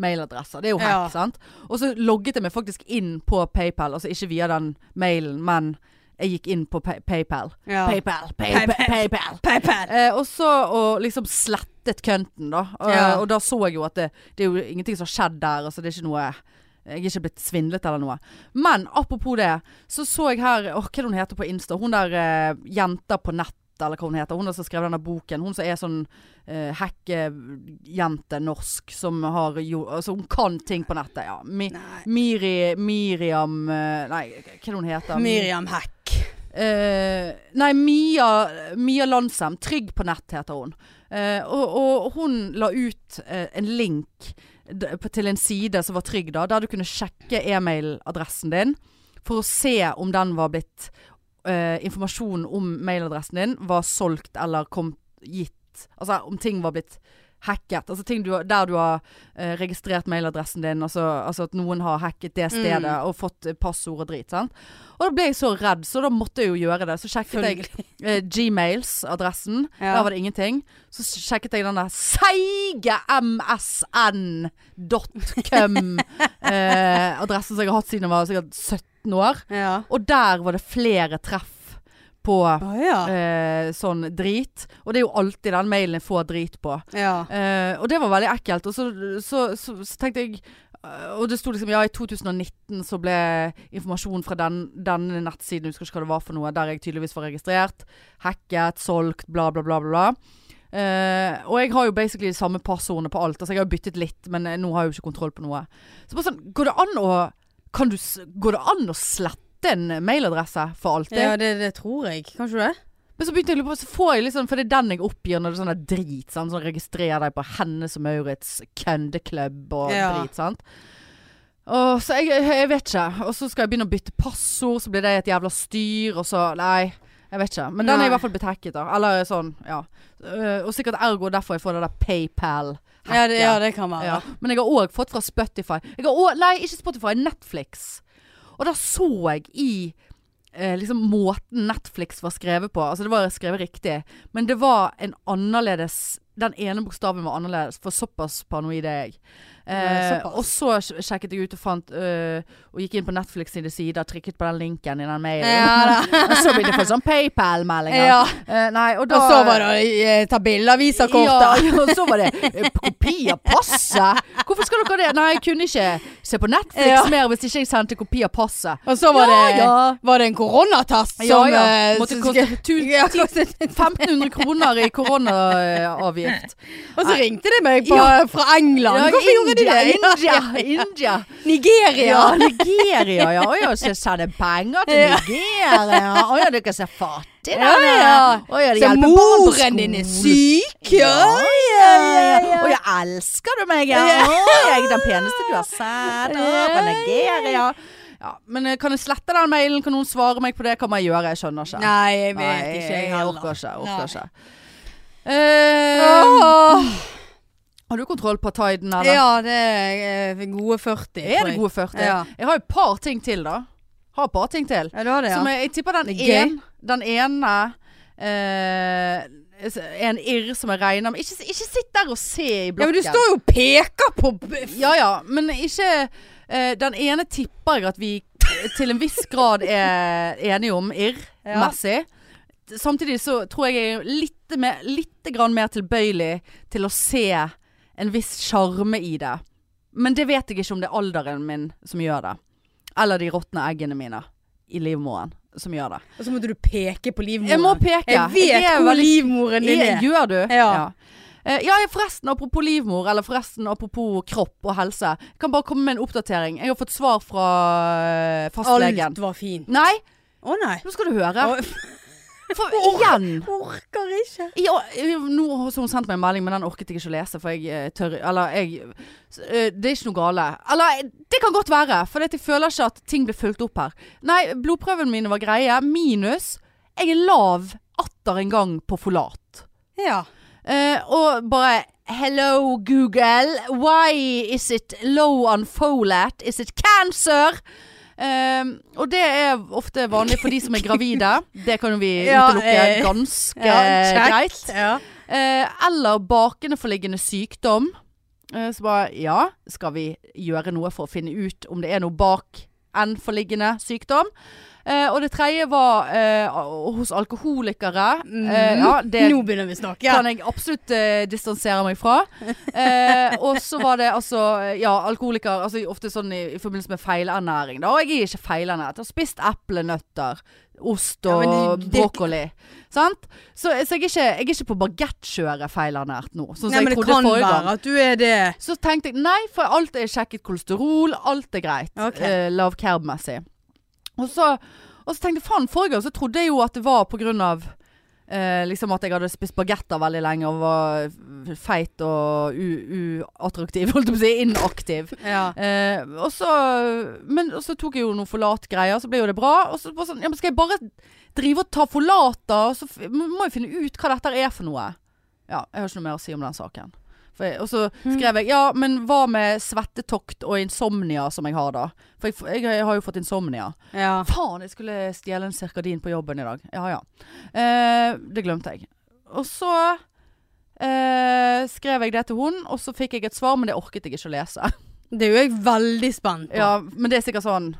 mailadresser. Det er jo hack,
Ja.
sant? Og så logget jeg meg faktisk inn på PayPal. Altså ikke via den mailen, men jeg gikk inn på pay PayPal.
Ja.
PayPal, PayPal,
PayPal.
PayPal.
PayPal.
Eh, og så og liksom slettet kønten da. Og,
Ja.
og da så jeg jo at det, det er jo ingenting som har skjedd der. Altså det er ikke noe Jeg er ikke blitt svindlet eller noe. Men apropos det, så så jeg her Åh, hva er det hun heter på Insta? Hun der eh, jenta på nett. Eller hva hun heter. Hun der som skrev denne boken. Hun som er sånn eh, hekkejente norsk som har jo Altså, hun kan ting på nettet. Ja. Mi,
Nei.
Miri Miriam eh, Nei, hva er det hun heter?
Miriam Hack.
Eh, nei, Mia, Mia Landsem. Trygg på nett, heter hun. Eh, og, og hun la ut eh, en link d- på- til en side som var trygg, da, der du kunne sjekke e-mailadressen din for å se om den var blitt eh, Informasjonen om mailadressen din var solgt eller kom gitt. Altså om ting var blitt hacket. Altså ting du, har- der du har eh, registrert mailadressen din, altså, altså at noen har hacket det stedet og fått eh, passord og drit. Sant? Og da ble jeg så redd, så da måtte jeg jo gjøre det. Så sjekket jeg
Følgelig.
eh, Gmails-adressen.
Ja.
Der var det ingenting. Så sjekket jeg den der seige msn.com-adressen eh, som jeg har hatt siden jeg var sikkert 17 år.
Ja.
Og der var det flere treff på
Å ja.
eh, sånn drit. Og det er jo alltid den mailen jeg får drit på.
ja.
Eh, og det var veldig ekkelt. Og så, så, så, så tenkte jeg eh, Og det sto liksom ja, i 2019 så ble informasjon fra den, denne nettsiden, jeg husker ikke hva det var for noe, der jeg tydeligvis var registrert, hacket, solgt, bla, bla, bla, bla. bla. Eh, og jeg har jo basically de samme passordene på alt. Altså jeg har jo byttet litt, men eh, nå har jeg jo ikke kontroll på noe. Så bare sånn, går det an å kan du, s- Går det an å slette en mailadresse for alltid?
Ja, det, det tror jeg. Kan ikke du det?
Men så begynte jeg å lure på, så får jeg liksom, for det er den jeg oppgir når det er sånn der drit, sant? sånn registrer deg på Hennes og Maurits køndeklubb og
Ja.
drit, sant. Og, så jeg, jeg vet ikke, og så skal jeg begynne å bytte passord, så blir det et jævla styr, og så, nei, jeg vet ikke. Men den er
Nei.
i hvert fall betekket da, eller sånn, ja. Øh, og sikkert ergo derfor jeg får det der Paypal-hacket.
Ja, det, ja, det kan være.
Ja. Men jeg har òg fått fra Spotify. Jeg har også, nei, ikke Spotify, Netflix. Og da så jeg i eh, liksom måten Netflix var skrevet på. Altså det var skrevet riktig, men det var en annerledes Den ene bokstaven var annerledes, for såpass paranoid er jeg. Eh,
Ja, såpass.
og så sj- sjekket jeg ut og fant eh, Og gikk inn på Netflix sine sider, trykket på den linken i den mailen.
Ja da.
og så begynte jeg å få sånn PayPal-meldinger.
Ja.
Eh, nei, og da
Og så var det eh, ta bilde av
ja,
visakortet.
ja, og så var det eh, kopi av passet. Hvorfor skal dere det? Nei, jeg kunne ikke se på Netflix
Ja.
mer hvis ikke jeg sendte kopi av passet.
Og så var
Ja,
det,
ja.
var det en koronatest som
ja, ja.
eh,
Måtte
som
koste
skulle-
tu-
Ja, kostet-
1500 kroner i koronaavgift.
Og så ringte de meg på,
Ja.
fra England.
Ja,
Hvorfor gjorde de det?
India, India.
Nigeria.
Ja, Nigeria, ja. Å ja, så jeg sender penger til
Ja.
Nigeria. Å ja, dere er så fattige
Ja,
der.
ja.
Å ja, det
Så
hjelper barn på
moren din er
skolen.
syk? Ja,
ja, ja, ja. Og jeg elsker du meg, ja.
Ja.
Å, jeg er den peneste du har sett. Å, fra Nigeria. Ja, men eh, kan jeg slette den mailen? Kan noen svare meg på det? Hva må jeg gjøre? Jeg skjønner ikke.
Nei, jeg vet
Nei,
ikke. Jeg
jeg
heller.
orker ikke. jeg
Nei.
Orker ikke. Eh,
Åh.
har du kontroll på tiden, eller?
Ja, det er eh, gode
Er
40. tror
det
jeg.
gode 40?
Ja.
Jeg har et par ting til, da. Har et par ting til.
Ja, du har det, ja.
Som jeg, jeg tipper den
Det er gøy.
en, Den ene eh, en irr som jeg regner med ikke, ikke sitt der og se i
Ja, men
blokken.
du står jo og peker på b- f-
Ja ja, men ikke eh, Den ene tipper jeg at vi til en viss grad er enige om irr-messig. Samtidig så tror jeg jeg er litt, mer, litt grann mer tilbøyelig til å se en viss sjarme i det. Men det vet jeg ikke om det er alderen min som gjør det. Eller de råtne eggene mine i livmoren som gjør det.
Og så måtte du peke på livmoren.
Jeg må peke.
Jeg vet
Jeg er
hvor
veldig-
livmoren din er.
Gjør du?
Ja.
Eh, ja, jeg- forresten apropos livmor, eller forresten apropos kropp og helse. Jeg kan bare komme med en oppdatering. Jeg har fått svar fra eh, fastlegen.
Alt var fint.
Nei,
Å nei.
nå skal du høre.
Å,
For igjen.
Orker ikke.
I, å- i- nå har hun sendt meg en melding, men den orket jeg ikke å lese, for jeg eh, tør Eller jeg s- eh, Det er ikke noe gale. Eller eh, det kan godt være, for jeg føler ikke at ting blir fulgt opp her. Nei, blodprøvene mine var greie. Minus jeg er lav atter en gang på folat.
Ja.
Eh, og bare Hello Google, why is it low on folate? Is it cancer? Eh, og det er ofte vanlig for de som er gravide. Det kan jo vi
Ja,
utelukke
eh,
ganske
ja,
greit.
Ja.
Eh, eller bakenforliggende sykdom. Eh, så bare ja, skal vi gjøre noe for å finne ut om det er noe bak enforliggende sykdom? Eh, og det tredje var eh, hos alkoholikere. Eh, ja, det
Nå begynner vi å snakke.
kan jeg absolutt eh, distansere meg fra. Eh, og så var det altså Ja, alkoholiker altså, Ofte sånn i, i forbindelse med feilernæring. Da. Og jeg er ikke feilernært. Jeg har spist eplenøtter, ost
Ja,
og
men det- det-
brokkoli. Sant? Så, så jeg, er ikke, jeg er ikke på bagettkjøret feilernært nå, sånn som
Nei, men
jeg
det
trodde
kan
forrige gang.
være at du er det.
Så tenkte jeg nei, for alt er sjekket kolesterol, alt er greit.
Ok.
Eh, lav carb-messig. Og, så- og så tenkte jeg faen, forrige gang så trodde jeg jo at det var på grunn av eh, liksom at jeg hadde spist bagetter veldig lenge og var f- feit og u- uattraktiv, holdt jeg på å si, inaktiv.
Ja.
Eh, og så Men og så tok jeg jo noen forlatgreier, så ble jo det bra. Og så bare sånn, ja, men skal jeg bare drive og ta forlat, da? Og så f må jeg finne ut hva dette er for noe. Ja, jeg har ikke noe mer å si om den saken. For jeg, og så skrev jeg Ja, men hva med svettetokt og insomnia som jeg har da? For jeg, f- jeg, jeg har jo fått insomnia.
ja.
Faen, jeg skulle stjele en sirkadin på jobben i dag. Ja ja. Eh, det glemte jeg. Og så eh, skrev jeg det til hun, og så fikk jeg et svar, men det orket jeg ikke å lese.
Det er jo jeg veldig spent på.
Ja, Men det er sikkert sånn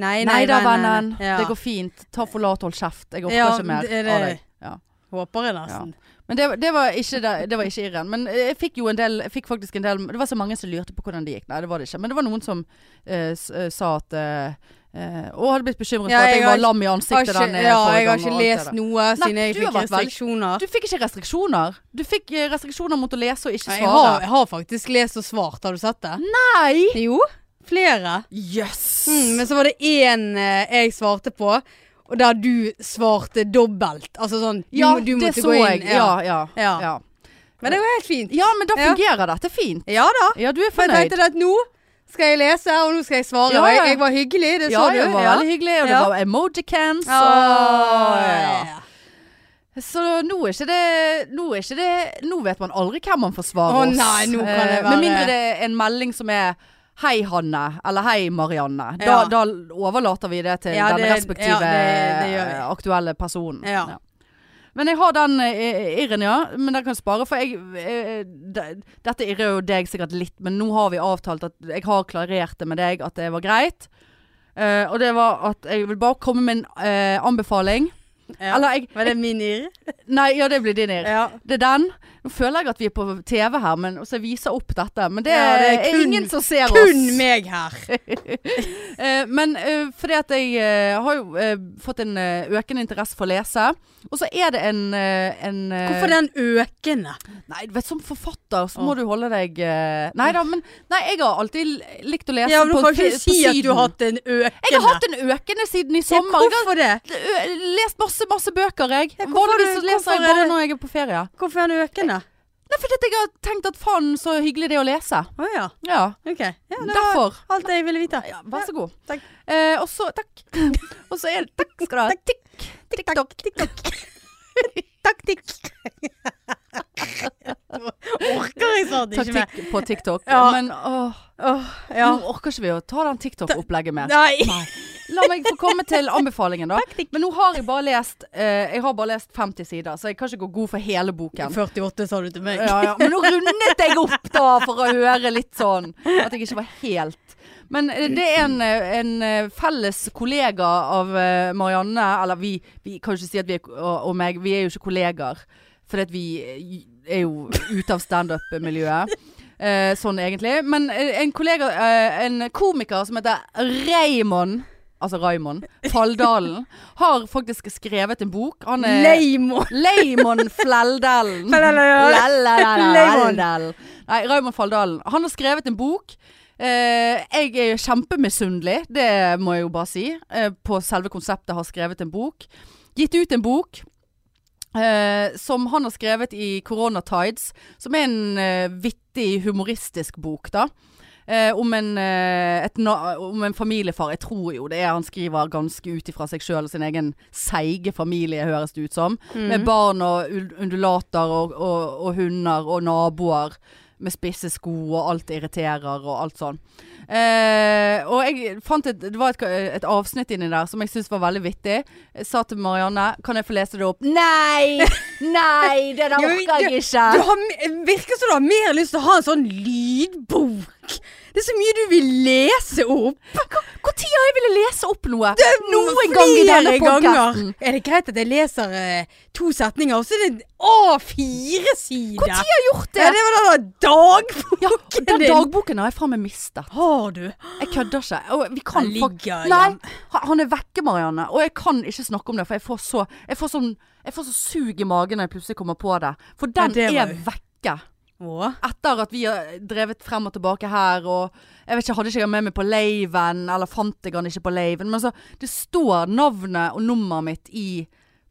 Nei,
Nei da, vennen.
Ja.
Det går fint. Ta forlat, hold kjeft. Jeg orker
Ja,
ikke mer
det er
av
det.
deg. Ja.
Håper jeg nesten.
Men det, det var ikke det, det var ikke irren. Men eh, jeg fikk jo en del, jeg fikk faktisk en del Det var så mange som lurte på hvordan det gikk. Nei, det var det ikke. Men det var noen som eh, s- eh, sa at eh, eh, Og hadde blitt bekymret
Ja,
for at
jeg
jeg
har
var lam i
Har
ansiktet
ikke,
den eh,
ja,
forrige
jeg har
gang og
ikke
alt det
lest
der.
noe siden
Nei,
jeg
du har
fikk
vært veldig-
restriksjoner.
Du fikk ikke restriksjoner. Du fikk eh, restriksjoner mot å lese og ikke
Nei, jeg, har,
svare.
jeg har faktisk lest og svart, har du sett det?
Mm. Nei!
Jo, flere.
Jøss!
Mm, men så var det én eh, jeg svarte på, og der du svarte dobbelt. Altså sånn du,
ja,
må-
det
du måtte
så
gå
jeg.
inn.
Ja. Ja, ja,
Ja.
ja.
Men det var helt fint.
men da
Ja.
fungerer dette fint.
Ja da.
Ja, du er
For jeg
fornøyd.
tenkte det at nå skal jeg lese, og nå skal jeg svare.
Ja,
Og
ja.
jeg, jeg var hyggelig, det
Ja,
så du.
det var veldig hyggelig, og det
Ja.
var emojicans.
Ja.
og- eh,
Ja.
Ja. Så nå er ikke det Nå, er ikke det, nå vet man aldri hvem man forsvarer
Å,
oss.
nei, nå kan det
Eh, Med
være-
mindre det er en melding som er Hei Hanne, eller hei Marianne. Da,
Ja.
da overlater vi det til den
Ja, det-
respektive
ja, det- det gjør vi.
eh, aktuelle personen.
Ja.
Men jeg har den eh, irren, ja. Men den kan jeg spare, for jeg eh, de- Dette irrer jo deg sikkert litt, men nå har vi avtalt at jeg har klarert det med deg at det var greit. Eh, og det var at jeg vil bare komme med en eh, anbefaling.
Ja.
Eller jeg,
Var det min irr?
Nei, ja, det blir din irr.
Ja.
Det er den. Nå føler jeg at vi er på TV her, men så jeg viser opp dette. Men det,
Ja, det er
er,
kun-
ingen som ser
Kun
oss.
meg her.
Eh, men eh, fordi at jeg eh, har jo eh, fått en eh, økende interesse for å lese. Og så er det en, eh, en eh,
Hvorfor den økende?
Nei, du vet, som forfatter så
Åh.
må du holde deg eh, Nei da, men nei, jeg har alltid l- likt å lese
Ja, men Du
på,
kan ikke
på
si at du
siden.
har hatt en økende.
Jeg har hatt en økende siden i
Ja,
sommer. Jeg har
Hvorfor det?
ø- lest masse, masse bøker, jeg.
Ja, hvorfor
Vanligvis
er
så leser
det-
jeg
hvorfor er
bare
det-
når jeg er på ferie.
Hvorfor er den økende?
Nei, fordi at jeg har tenkt at faen så hyggelig det er å lese.
Å ja.
Ja.
Ok. Ja, det var
Derfor.
alt jeg ville vite.
Ja, vær så god.
takk.
Eh, og så Takk. og så er det Takk skal du ha. Tikk, tikk, takk.
Taktikk. Orker jeg snart ikke mer.
Taktikk på TikTok.
Ja.
Men åh,
Åh, ja.
nå orker ikke vi å ta den TikTok-opplegget med.
Nei.
Nei. La meg få komme til anbefalingen, da. Men nå har jeg bare lest eh, Jeg har bare lest 50 sider, så jeg kan ikke gå god for hele boken.
48 sa du til meg.
Ja, ja. Men nå rundet jeg opp da, for å høre litt sånn. At jeg ikke var helt Men eh, det er en, eh, en eh, felles kollega av eh, Marianne, eller vi, vi kan jo ikke si at vi er, ko- og, og meg, vi er jo ikke kollegaer. Fordi at vi eh, er jo ute av standup-miljøet. Eh, sånn egentlig. Men eh, en kollega, eh, en komiker som heter Raymond Altså Raymond Falldalen har faktisk skrevet en bok. Han er
Leimo.
Leimon Fleldalen.
Fleldalen.
Fleldalen.
Leimon.
Nei, Raymond Faldalen. Han har skrevet en bok. Eh, jeg er kjempemisunnelig, det må jeg jo bare si, eh, på selve konseptet har skrevet en bok. Gitt ut en bok eh, som han har skrevet i Corona Tides, som er en eh, vittig, humoristisk bok, da. Eh, om, en, eh, et na om en familiefar. Jeg tror jo det er han skriver ganske ut ifra seg sjøl og sin egen seige familie, høres det ut som.
Mm.
Med barn og ul- undulater og, og, og hunder og naboer med spisse sko og alt irriterer og alt sånn. Eh, og jeg fant et, det var et, et avsnitt inni der som jeg syntes var veldig vittig. Jeg sa til Marianne Kan jeg få lese det opp? Nei! Nei, det der
Ja, men
orker jeg ikke!
Du har, me- virker som du har mer lyst til å ha en sånn lydbok. Det er så mye du vil lese opp.
Når har jeg ville lese opp noe?
Flere
Noen gang i denne podkasten.
ganger. Er det greit at jeg leser eh, to setninger, og så er det A4-side?
Når har jeg gjort det?
Ja, det var da dagboken
Ja, den
din.
dagboken har jeg faen meg mistet.
Har du?
Jeg kødder ikke. Og vi kan
Han
fak-
ligger i
Nei,
den.
ha- han er vekke, Marianne. Og jeg kan ikke snakke om det, for jeg får så Jeg får sånn jeg får så sug i magen når jeg plutselig kommer på det. For den
det var
er
jo-
vekke.
Å.
Etter at vi har drevet frem og tilbake her, og jeg vet ikke, hadde ikke jeg med meg på laven, eller fant jeg han ikke på laven, men så Det står navnet og nummeret mitt i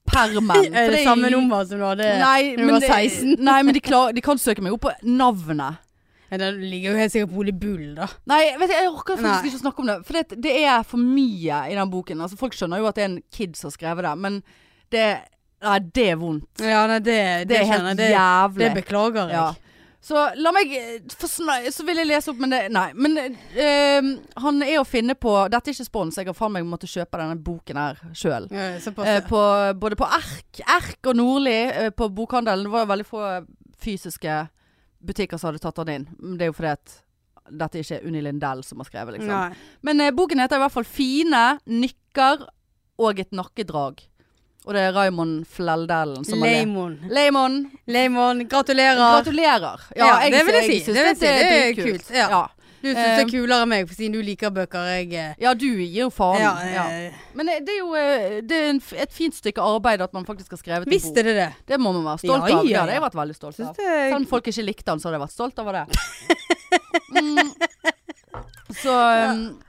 permen.
Er
For
det samme nummer som du hadde
Nei,
da du
men
var
det-
16?
Nei, men de, klar, de kan søke meg opp på navnet.
Ja, den ligger jo helt sikkert på Ole Bull, da.
Nei, vet du, jeg orker faktisk
Nei.
ikke å snakke om det. For det, det er for mye i den boken. Altså, folk skjønner jo at det er en kid som har skrevet det, men det, nei, det er vondt.
Ja, nei, det,
Det,
det
er helt
skjønner jeg. Det,
jævlig.
det beklager jeg.
Ja. Så la meg eh, få sna- Så vil jeg lese opp, men det Nei. Men eh, han er å finne på Dette er ikke spons, jeg har faen meg måttet kjøpe denne boken her sjøl.
Ja, såpass.
Eh, på, både på Erk, Erk og Nordli eh, på bokhandelen. Det var jo veldig få fysiske butikker som hadde tatt den inn. Men Det er jo fordi at dette ikke er Unni Lindell som har skrevet, liksom.
Nei.
Men eh, boken heter i hvert fall 'Fine nykker og et nakkedrag'. Og det er Raymond Fleldalen som har det.
Leimon.
Leimon,
Leimon, gratulerer.
gratulerer.
Ja, det vil jeg si.
synes
Det vil
at
jeg si. Det er
dritkult.
kult, ja.
Ja.
Du syns det
Eh,
er kulere enn meg, for siden du liker bøker. Jeg eh,
ja, du gir jo faen.
ja,
Ja,
eh,
Men eh, det er jo eh, det er en, f- et fint stykke arbeid at man faktisk har skrevet en
Visste
bok.
det det?
Det må man være stolt
Ja,
av.
ja,
Det hadde jeg
ja.
vært veldig stolt
Syns
av.
det er
Selv om folk ikke likte han, så hadde jeg vært stolt over det. Mm. Så um,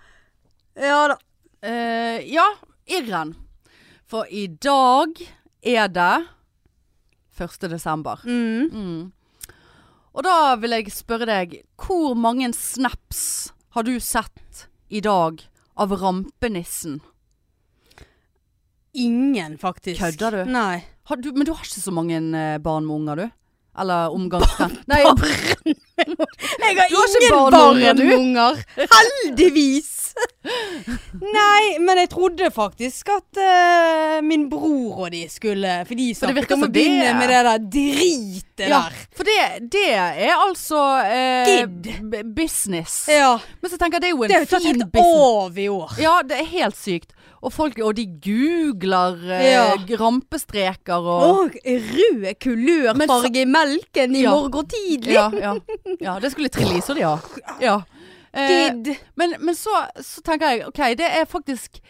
Ja da.
Eh, ja, irren. For i dag er det 1. desember.
Mm.
Mm. Og da vil jeg spørre deg, hvor mange snaps har du sett i dag av rampenissen?
Ingen, faktisk.
Kødder du?
Nei.
Har du? Men du har ikke så mange eh, barn med unger, du? Eller omgangsvenn? Nei, barn.
Jeg har
Du har ikke
ingen
barn,
barn,
du.
unger. Heldigvis. Nei, men jeg trodde faktisk at eh, min bror og de skulle For de
For det
snakket
virker
om å
som det
begynne
er.
med det der dritet
Ja,
der.
for det, det er altså eh,
Gid.
b- business.
Ja.
Men så tenker jeg det er jo en
Det har jo tatt
fin
helt
business.
av i år.
Ja, det er helt sykt. Og, folk, og de googler eh,
Ja.
rampestreker og
Og rød kulørfarge i melken i
Ja.
morgen tidlig.
ja, ja, ja, det skulle Trelise de ha. Ja. Eh,
Gid.
men men så, så tenker jeg OK, det er faktisk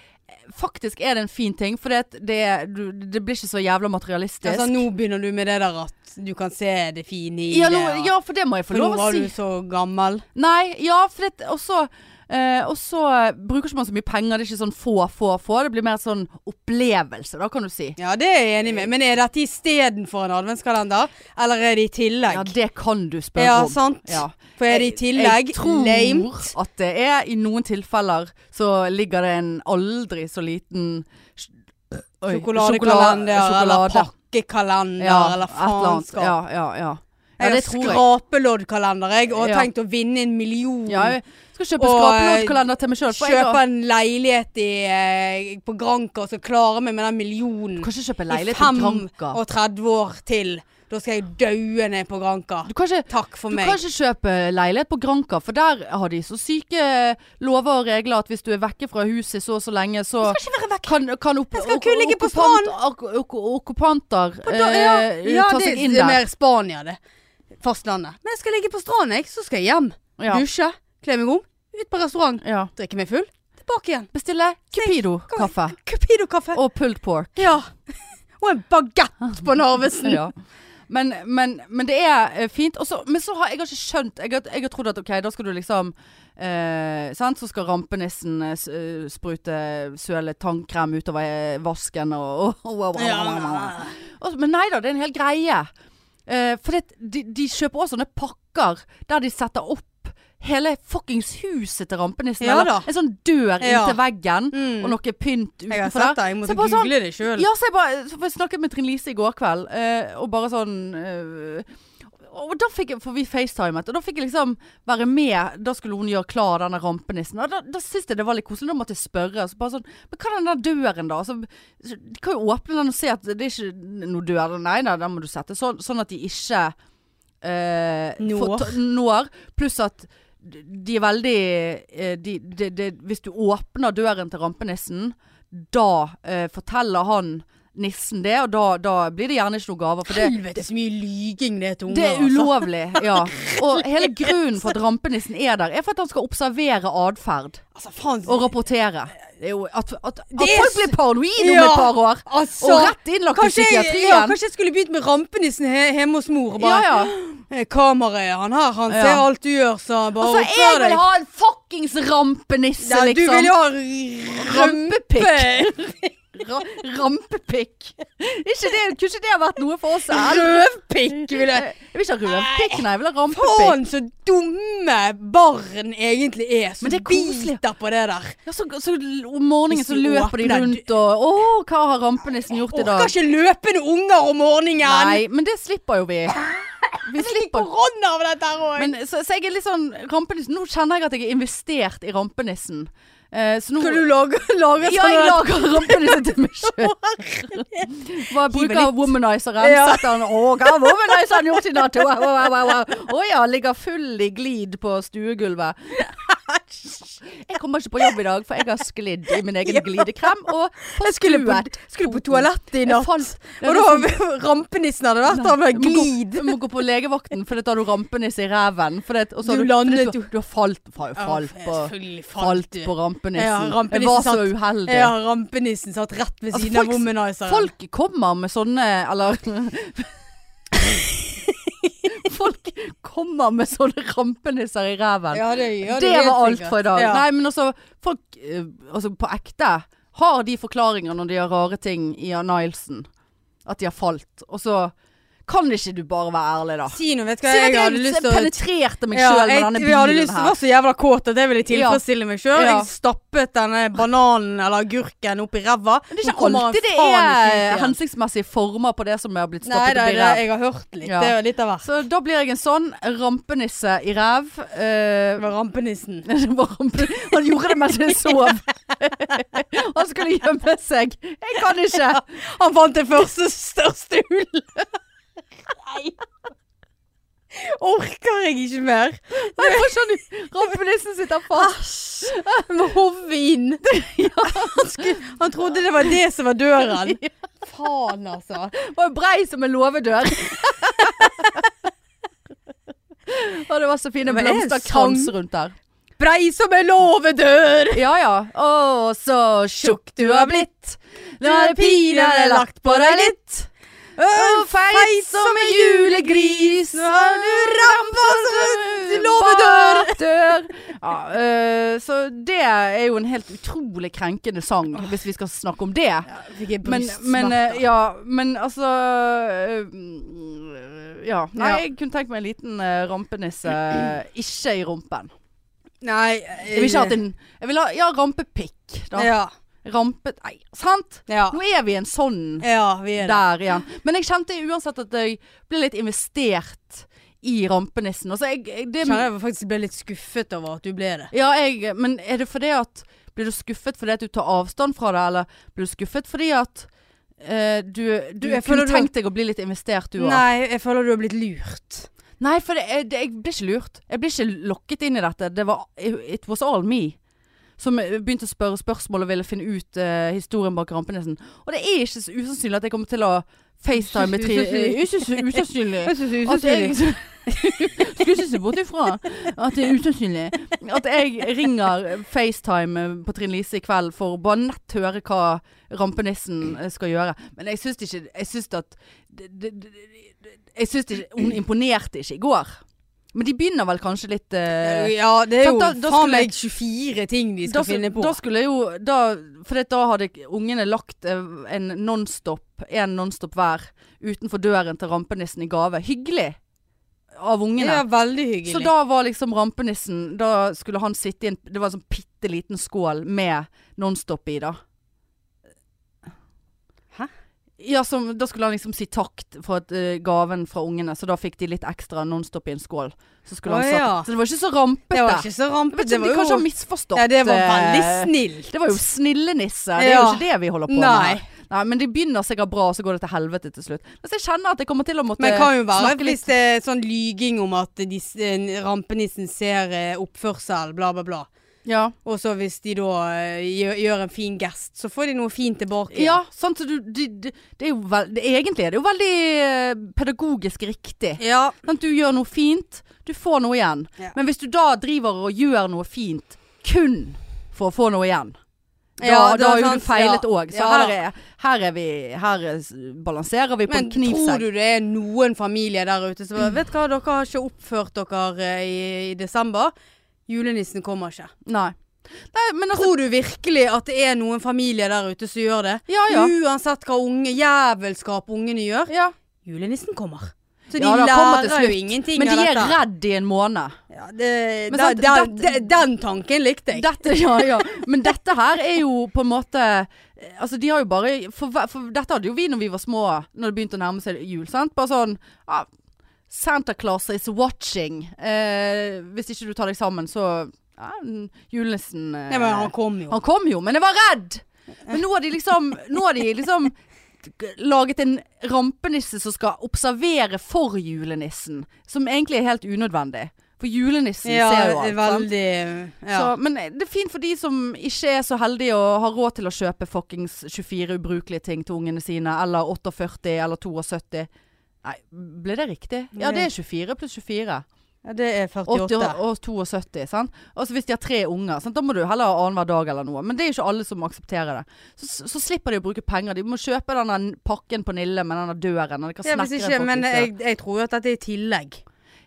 Faktisk er det en fin ting, for det, det, du- det blir ikke så jævla materialistisk.
Altså, nå begynner du med det der at du kan se det fine i
ja,
det.
nå,
og-
ja, for det må jeg få
for nå
lov å
var
si.
du så gammel.
Nei, ja, for det Og så eh, og så bruker ikke man så mye penger. Det er ikke sånn få, få, få. Det blir mer sånn opplevelse, da, kan du si.
Ja, det er jeg enig
Eh.
med. Men er dette istedenfor en adventskalender, eller er det i tillegg?
Ja, det kan du spørre
Ja,
om.
sant.
Ja.
For er det i tillegg
Jeg tror
lamet?
at det er i noen tilfeller så ligger det en aldri så liten sj- oi,
Sjokoladekalender
sjokolade-
eller
sjokolade.
pakkekalender
Ja,
eller
et eller annet.
faenskap.
Ja, ja, ja. Ja,
Jeg har
det tror jeg.
skrapeloddkalender, jeg, og har
Ja.
tenkt å vinne en million.
Ja, jeg skal kjøpe
Og,
skrapeloddkalender til meg sjøl.
Kjøpe en leilighet i, eh, på Granka og så klare meg med den millionen
Kanskje kjøpe
i
leilighet
fem
på Granka.
og 30 år til. Da skal jeg daue ned på Granka.
Du kan ikke
Takk for
Du
meg.
kan ikke kjøpe leilighet på Granka, for der har de så syke lover og regler at hvis du er vekke fra huset så og så lenge, så
Jeg skal ikke være vekk.
kan, kan opp,
Jeg skal kun ligge på
okkupanter- ok- okkupanter
da- ja.
eh,
Ja,
ta
det,
seg inn
det
der.
er mer Spania, det. Fastlandet. Men jeg skal ligge på stranden, jeg. Så skal jeg hjem.
Ja.
Dusje, kle meg om, ut på restaurant,
Ja.
drikke meg full, tilbake igjen.
Bestille Cupido-kaffe
Cupido-kaffe.
og pulled pork.
Ja. Og en bagett på Narvesen.
Ja. Men, men, men det er eh, fint. Og så- men så har jeg har ikke skjønt Jeg har, jeg har trodd at ok, da skal du liksom eh, sant? Så skal rampenissen eh, s- eh, sprute søle tannkrem utover eh, vasken og, og, og, og,
Ja.
Og- Men nei da, det er en hel greie. Eh, for det, de, de kjøper også sånne pakker der de setter opp hele fuckings huset til rampenissen.
Ja da.
eller en sånn dør
Ja.
inntil veggen,
Mm.
og noe pynt
Jeg har
utenfor
sett
der.
det. Jeg
Så
måtte
jeg bare sånn-
google det sjøl.
Ja, så jeg bare så jeg snakket med Trine Lise i går kveld, eh, og bare sånn eh, og da fikk jeg, For vi facetimet, og da fikk jeg liksom være med. Da skulle hun gjøre klar denne rampenissen. Og da, da syntes jeg det var litt koselig. Da måtte jeg spørre. Så bare sånn, Men hva er den der døren, da? Altså, så de kan jo åpne den og se at det er ikke noe dør. Nei da, den må du sette. Sånn- sånn at de ikke eh,
Når.
får ta- når. Pluss at de er veldig eh, de, de, de, Hvis du åpner døren til rampenissen, da eh, forteller han nissen det, og da, da blir det gjerne ikke noe gaver. For det,
Helvete så mye lyging det er til unger.
det er
altså.
ulovlig. Ja. Og hele grunnen for at rampenissen er der, er for at han skal observere atferd
Altså, faen.
og rapportere. Det er jo at, at, at
Det er
folk
s-
blir paranoide om
Ja,
et par år.
altså,
Og rett innlagt i
kanskje, jeg, ja,
psykiatrien.
kanskje jeg skulle begynt med rampenissen he hjemme hos mor. Og
Ja,
bare
ja.
«Eh, Kameraet han her, han
Ja.
ser alt du gjør, så bare
Altså, jeg
oppfør
vil
deg.
ha en fuckings rampenisse,
Ja, du
liksom.
vil jo ha
Rampepikk.
rømpepikk.
Ra rampepikk. Ikke det, kunne ikke det ha vært noe for oss? eller?
Røvpikk, vil jeg.
Jeg vil ikke ha røvpikk, nei. Jeg vil ha rampepikk.
Faen, så dumme barn egentlig er. Som
Men det er koselig.
biter på det der.
Ja, så, så om morgenen så
Hvis du
løper de
åpner-
rundt og Å, hva har rampenissen gjort i dag?
Orker ikke løpende unger om morgenen.
Nei, men det slipper jo vi. Vi
Det er
slipper
korona av dette her òg.
men, så, så jeg er litt sånn rampenissen Nå kjenner jeg at jeg er investert i rampenissen. Eh, så nå
Skal du lage, lage
Ja, jeg
sånn sånne-
lager rampenissen til meg sjøl. Hva bruker
litt.
womanizeren?
Ja.
Setter han Å, hva har womanizeren gjort i natt? Wow, wow, wow, wow. Å ja, ligger full i glid på stuegulvet. Jeg kommer ikke på jobb i dag, for jeg har sklidd i min egen glidekrem. Og
Jeg skulle på, skulle på toalettet i
Jeg
natt.
falt-
Og da
sånn-
var rampenissen hadde vært der med
Jeg må gå-
glid.
Jeg må gå på legevakten, for da har du rampenisse i ræven. For det, og så har
Du
du, fordi
landet
du, du har falt, fa- falt
Ja,
på,
selvfølgelig
falt
du.
på rampenissen.
Ja, rampenissen
jeg var så
satt-
uheldig.
Ja, rampenissen satt rett ved
Altså,
siden av
folk-
womanizeren.
Folk kommer med sånne Eller Folk kommer med sånne rampenisser i ræven.
Ja, det, ja,
det
vet
var alt
jeg.
for i dag.
Ja.
Nei, men altså, folk eh, altså, på ekte har de forklaringer når de gjør rare ting i Nilesen. At de har falt. Og så kan ikke du bare være ærlig, da.
Si noe, vet du hva.
Si at
Jeg
jeg,
hadde lyst til å
penetrerte meg
Ja,
sjøl
jeg-
med denne
Jeg hadde
bilen
lyst til å
her.
være så jævla kåt at jeg ville tilfredsstille meg sjøl.
Ja.
Jeg stappet denne bananen eller agurken opp i ræva.
Det er
Nå
ikke
kommer han
alltid det
faen ikke ut
er
igjen.
hensiktsmessige former på det som er blitt
Nei,
stoppet
nei,
opp i
nei,
ræv.
jeg har hørt litt.
Ja.
Det er jo litt av hvert.
Så da blir jeg en sånn rampenisse i ræv.
Det
Eh,
var rampenissen.
det var rampe- han gjorde det mens jeg sov. han skulle gjemme seg. Jeg kan ikke.
Han fant det første største hullet. Nei. Orker jeg ikke mer.
Nei, bare sånn, Rampenissen sitter fast.
Jeg må hove inn. Han, skulle, han trodde det var det som var døren. Faen, altså.
Var brei som en låvedør. Og det var så fine
Men det er en
blomsterkrans rundt der.
Brei som en låvedør.
Ja ja. Å, så tjukk du har blitt. Nå har jeg pinadø lagt på deg litt. Og feit som en julegris.
Nå har du rampa som en låvedør.
låvedør. Ja, øh, så det er jo en helt utrolig krenkende sang, hvis vi skal snakke om det.
Fikk jeg
Men, men
eh,
øh, ja, men altså øh, Ja. Nei,
Ja.
jeg kunne tenkt meg en liten øh, rampenisse. eh, Ikke i rumpen.
Nei.
Jeg
Eh,
vil ikke ha en Jeg vil ha ja, rampepikk. Da.
Ja.
Rampe... Nei, sant?
Ja.
Nå er vi i en sånn
ja, vi er det.
der igjen. Men jeg kjente uansett at jeg ble litt investert i rampenissen. Altså, jeg, jeg, det,
Kjenner jeg faktisk ble litt skuffet over at du ble det.
ja, jeg, men er det fordi at Blir du skuffet fordi at du tar avstand fra det, eller blir du skuffet fordi at eh, du, du,
Du-
kunne
jeg føler du-
tenkt deg å bli litt investert, du òg?
Nei, jeg føler du har blitt lurt.
Nei, for det, jeg, det, jeg ble ikke lurt. Jeg ble ikke lokket inn i dette. Det var It was all me. Som begynte å spørre spørsmål og ville finne ut eh, historien bak Rampenesen. Og det er ikke så usannsynlig at jeg kommer til å FaceTime med Trine.
Usannsynlig.
Ikke så usannsynlig.
Jeg synes
At
det er
jeg
usannsynlig.
Skulle ikke se bort ifra at det er usannsynlig. At jeg ringer FaceTime på Trine Lise i kveld for å bare nett høre hva rampenissen eh, skal gjøre. Men jeg syns ikke Jeg syns at det- det- det- det- Jeg syns ikke Hun imponerte ikke i går. Men de begynner vel kanskje litt eh,
Ja, det er
sant,
jo
da- da skulle-
faen meg 24 ting de skal
da,
finne på.
da skulle jo da, For da hadde ungene lagt eh, en nonstop En nonstop hver utenfor døren til rampenissen i gave. Hyggelig av ungene.
ja, veldig hyggelig.
Så da var liksom rampenissen Da skulle han sitte i en Det var en sånn bitte liten skål med Nonstop i, da.
Hæ?
Ja, som, da skulle han liksom si takk t- for at, eh, gaven fra ungene, så da fikk de litt ekstra Nonstop i en skål. Så, skulle
Å,
han satt,
ja.
så det var ikke så rampete.
det var ikke så
Jeg vet
rampete.
ikke
Det
om de
var
kanskje
jo
har misforstått.
ja, det var veldig
eh,
snilt.
det var jo snillenisse. Det er jo
Ja.
ikke det vi holder på
Nei.
med. her. Nei, men de begynner sikkert bra, og så går det til helvete til slutt. Altså, jeg kjenner at jeg kommer til å måtte
Men det kan jo være
snakke
hvis det er sånn lyging om at de, s- en rampenissen ser eh, oppførsel, bla, bla, bla.
ja.
Og så hvis de da eh, gjør, gjør en fin gest, så får de noe fint tilbake.
Ja, sant. så Du, de, de, det er jo vel, det, egentlig er det jo veldig eh, pedagogisk riktig.
Ja.
Sant? Du gjør noe fint, du får noe igjen.
Ja.
Men hvis du da driver og gjør noe fint kun for å få noe igjen, da,
Ja, det
da
er
har jo
sant,
du feilet
ja.
òg. Så
Ja,
her, er, her, er vi, her er, s- balanserer vi på Mm.
Men
en
tror
knivsegg.
du det er noen familier der ute som bare Vet du hva, dere har ikke oppført dere eh, i, i desember. Julenissen kommer ikke.
Nei. Nei, men altså
Tror du virkelig at det er noen familier der ute som gjør det?
Ja ja.
Uansett hva unge, jævelskap ungene gjør,
ja.
julenissen kommer. Så de
Ja, da, kommer til
lærer jo
slutt.
ingenting
Men de
av
er
dette.
redd i en måned.
Ja, det,
Men
da-
sant,
da-
dette-
de- den tanken likte jeg.
Dette, ja, ja. Men dette her er jo på en måte eh, Altså, de har jo bare For, hver- for dette hadde jo vi når vi var små, når det begynte å nærme seg jul. Sant? Bare sånn ja, Santa Claus is watching. Eh, hvis ikke du tar deg sammen, så ja, n- Julenissen eh,
Nei, men han kom jo.
han kom jo, men jeg var redd! Men nå har de liksom, nå har de liksom laget en rampenisse som skal observere for julenissen. Som egentlig er helt unødvendig. For julenissen
ja,
ser jo alt. sant?
veldig ja.
Så, men det er fint for de som ikke er så heldige og har råd til å kjøpe fuckings 24 ubrukelige ting til ungene sine, eller 48 eller 72. Nei, ble det riktig? Ja, det er 24 pluss 24.
ja, det er 48.
80 og 72, sant. Og så hvis de har tre unger, sant? da må du heller ha annenhver dag eller noe. Men det er jo ikke alle som aksepterer det. Så, så, så slipper de å bruke penger. De må kjøpe denne pakken på Nille med denne døren. Og de kan
Ja, hvis
snekre
ikke,
en
men
fuckings dør.
jeg, jeg tror jo at dette er i tillegg.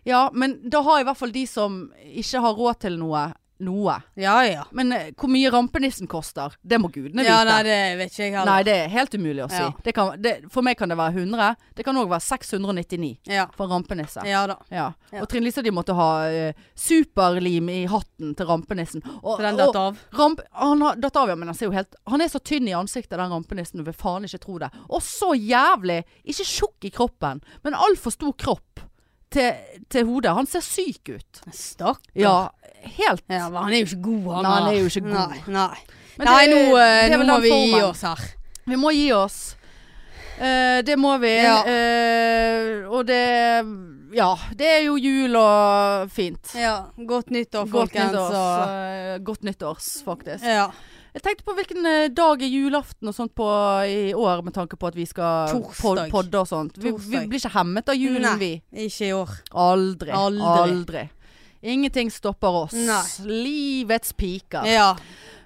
Ja, men da har i hvert fall de som ikke har råd til noe, noe.
Ja ja.
Men eh, hvor mye rampenissen koster, det må gudene vite.
Ja,
nei,
nei,
det,
det vet ikke jeg heller.
er helt umulig å si.
Ja.
Det kan, det, for meg kan det være 100. Det kan òg være 699
Ja.
for en rampenisse.
ja da.
Ja.
Ja.
Og Trine Lise de måtte ha eh, superlim i hatten til rampenissen. Og,
Så den
og-
datt av.
Ramp, han har datt av, ja, men han ser jo helt Han er så tynn i ansiktet, den rampenissen, du vil faen ikke tro det. Og så jævlig Ikke tjukk i kroppen, men altfor stor kropp til, til hodet. Han ser syk ut.
Stakkar.
Ja, helt
Ja, men han er jo ikke god, han.
Nei, han
da.
er jo ikke god.
Nei, nei.
Men
nei
det-
nå, eh,
det er vel
nå må
den
vi gi
formen.
oss her.
Vi må gi oss. Eh, det må vi.
Ja.
Eh, og det Ja, det er jo jul og fint.
Ja. Godt nyttår, folkens.
Godt
og-
nyttårs, eh, godt nyttårs, faktisk.
ja.
Jeg tenkte på hvilken eh, dag er julaften og sånt på i år, med tanke på at vi skal
Torsdag.
pod- podde og sånt. Vi, vi
Torsdag.
blir ikke hemmet av julen,
Nei.
vi.
Ikke i år.
Aldri.
Aldri.
Ingenting stopper oss.
Nei.
Livets piker.
Ja.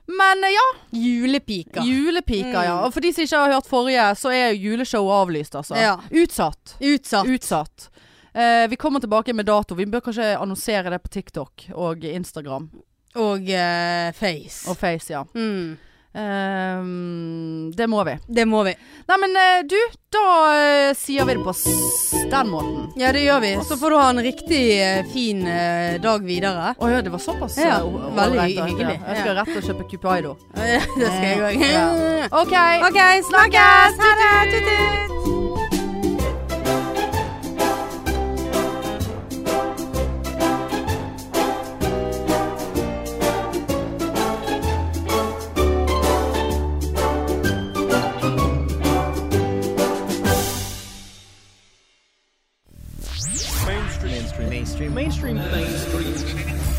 Men eh, ja,
Julepiker.
julepiker,
Mm.
ja. Og for de som ikke har hørt forrige, så er juleshowet avlyst, altså.
Ja.
Utsatt.
Utsatt.
Utsatt. Eh, vi kommer tilbake med dato. Vi bør kanskje annonsere det på TikTok og Instagram
Og eh, face.
og Face, ja.
Mm.
Ehm, det må vi.
Det må vi.
Nei, men eh, du, da eh, sier vi det på s den måten.
Ja, det gjør vi. Så får du ha en riktig eh, fin eh, dag videre.
Å ja, det var såpass?
Ja,
eh, o-
veldig
ålreit, da.
hyggelig.
Ja, Jeg skal rett og kjøpe Cupido.
det skal jeg òg.
Ja. OK.
OK, Eh, snakkes! Ha det! Tut-tut!
mainstream, mainstream, mainstream, mainstream.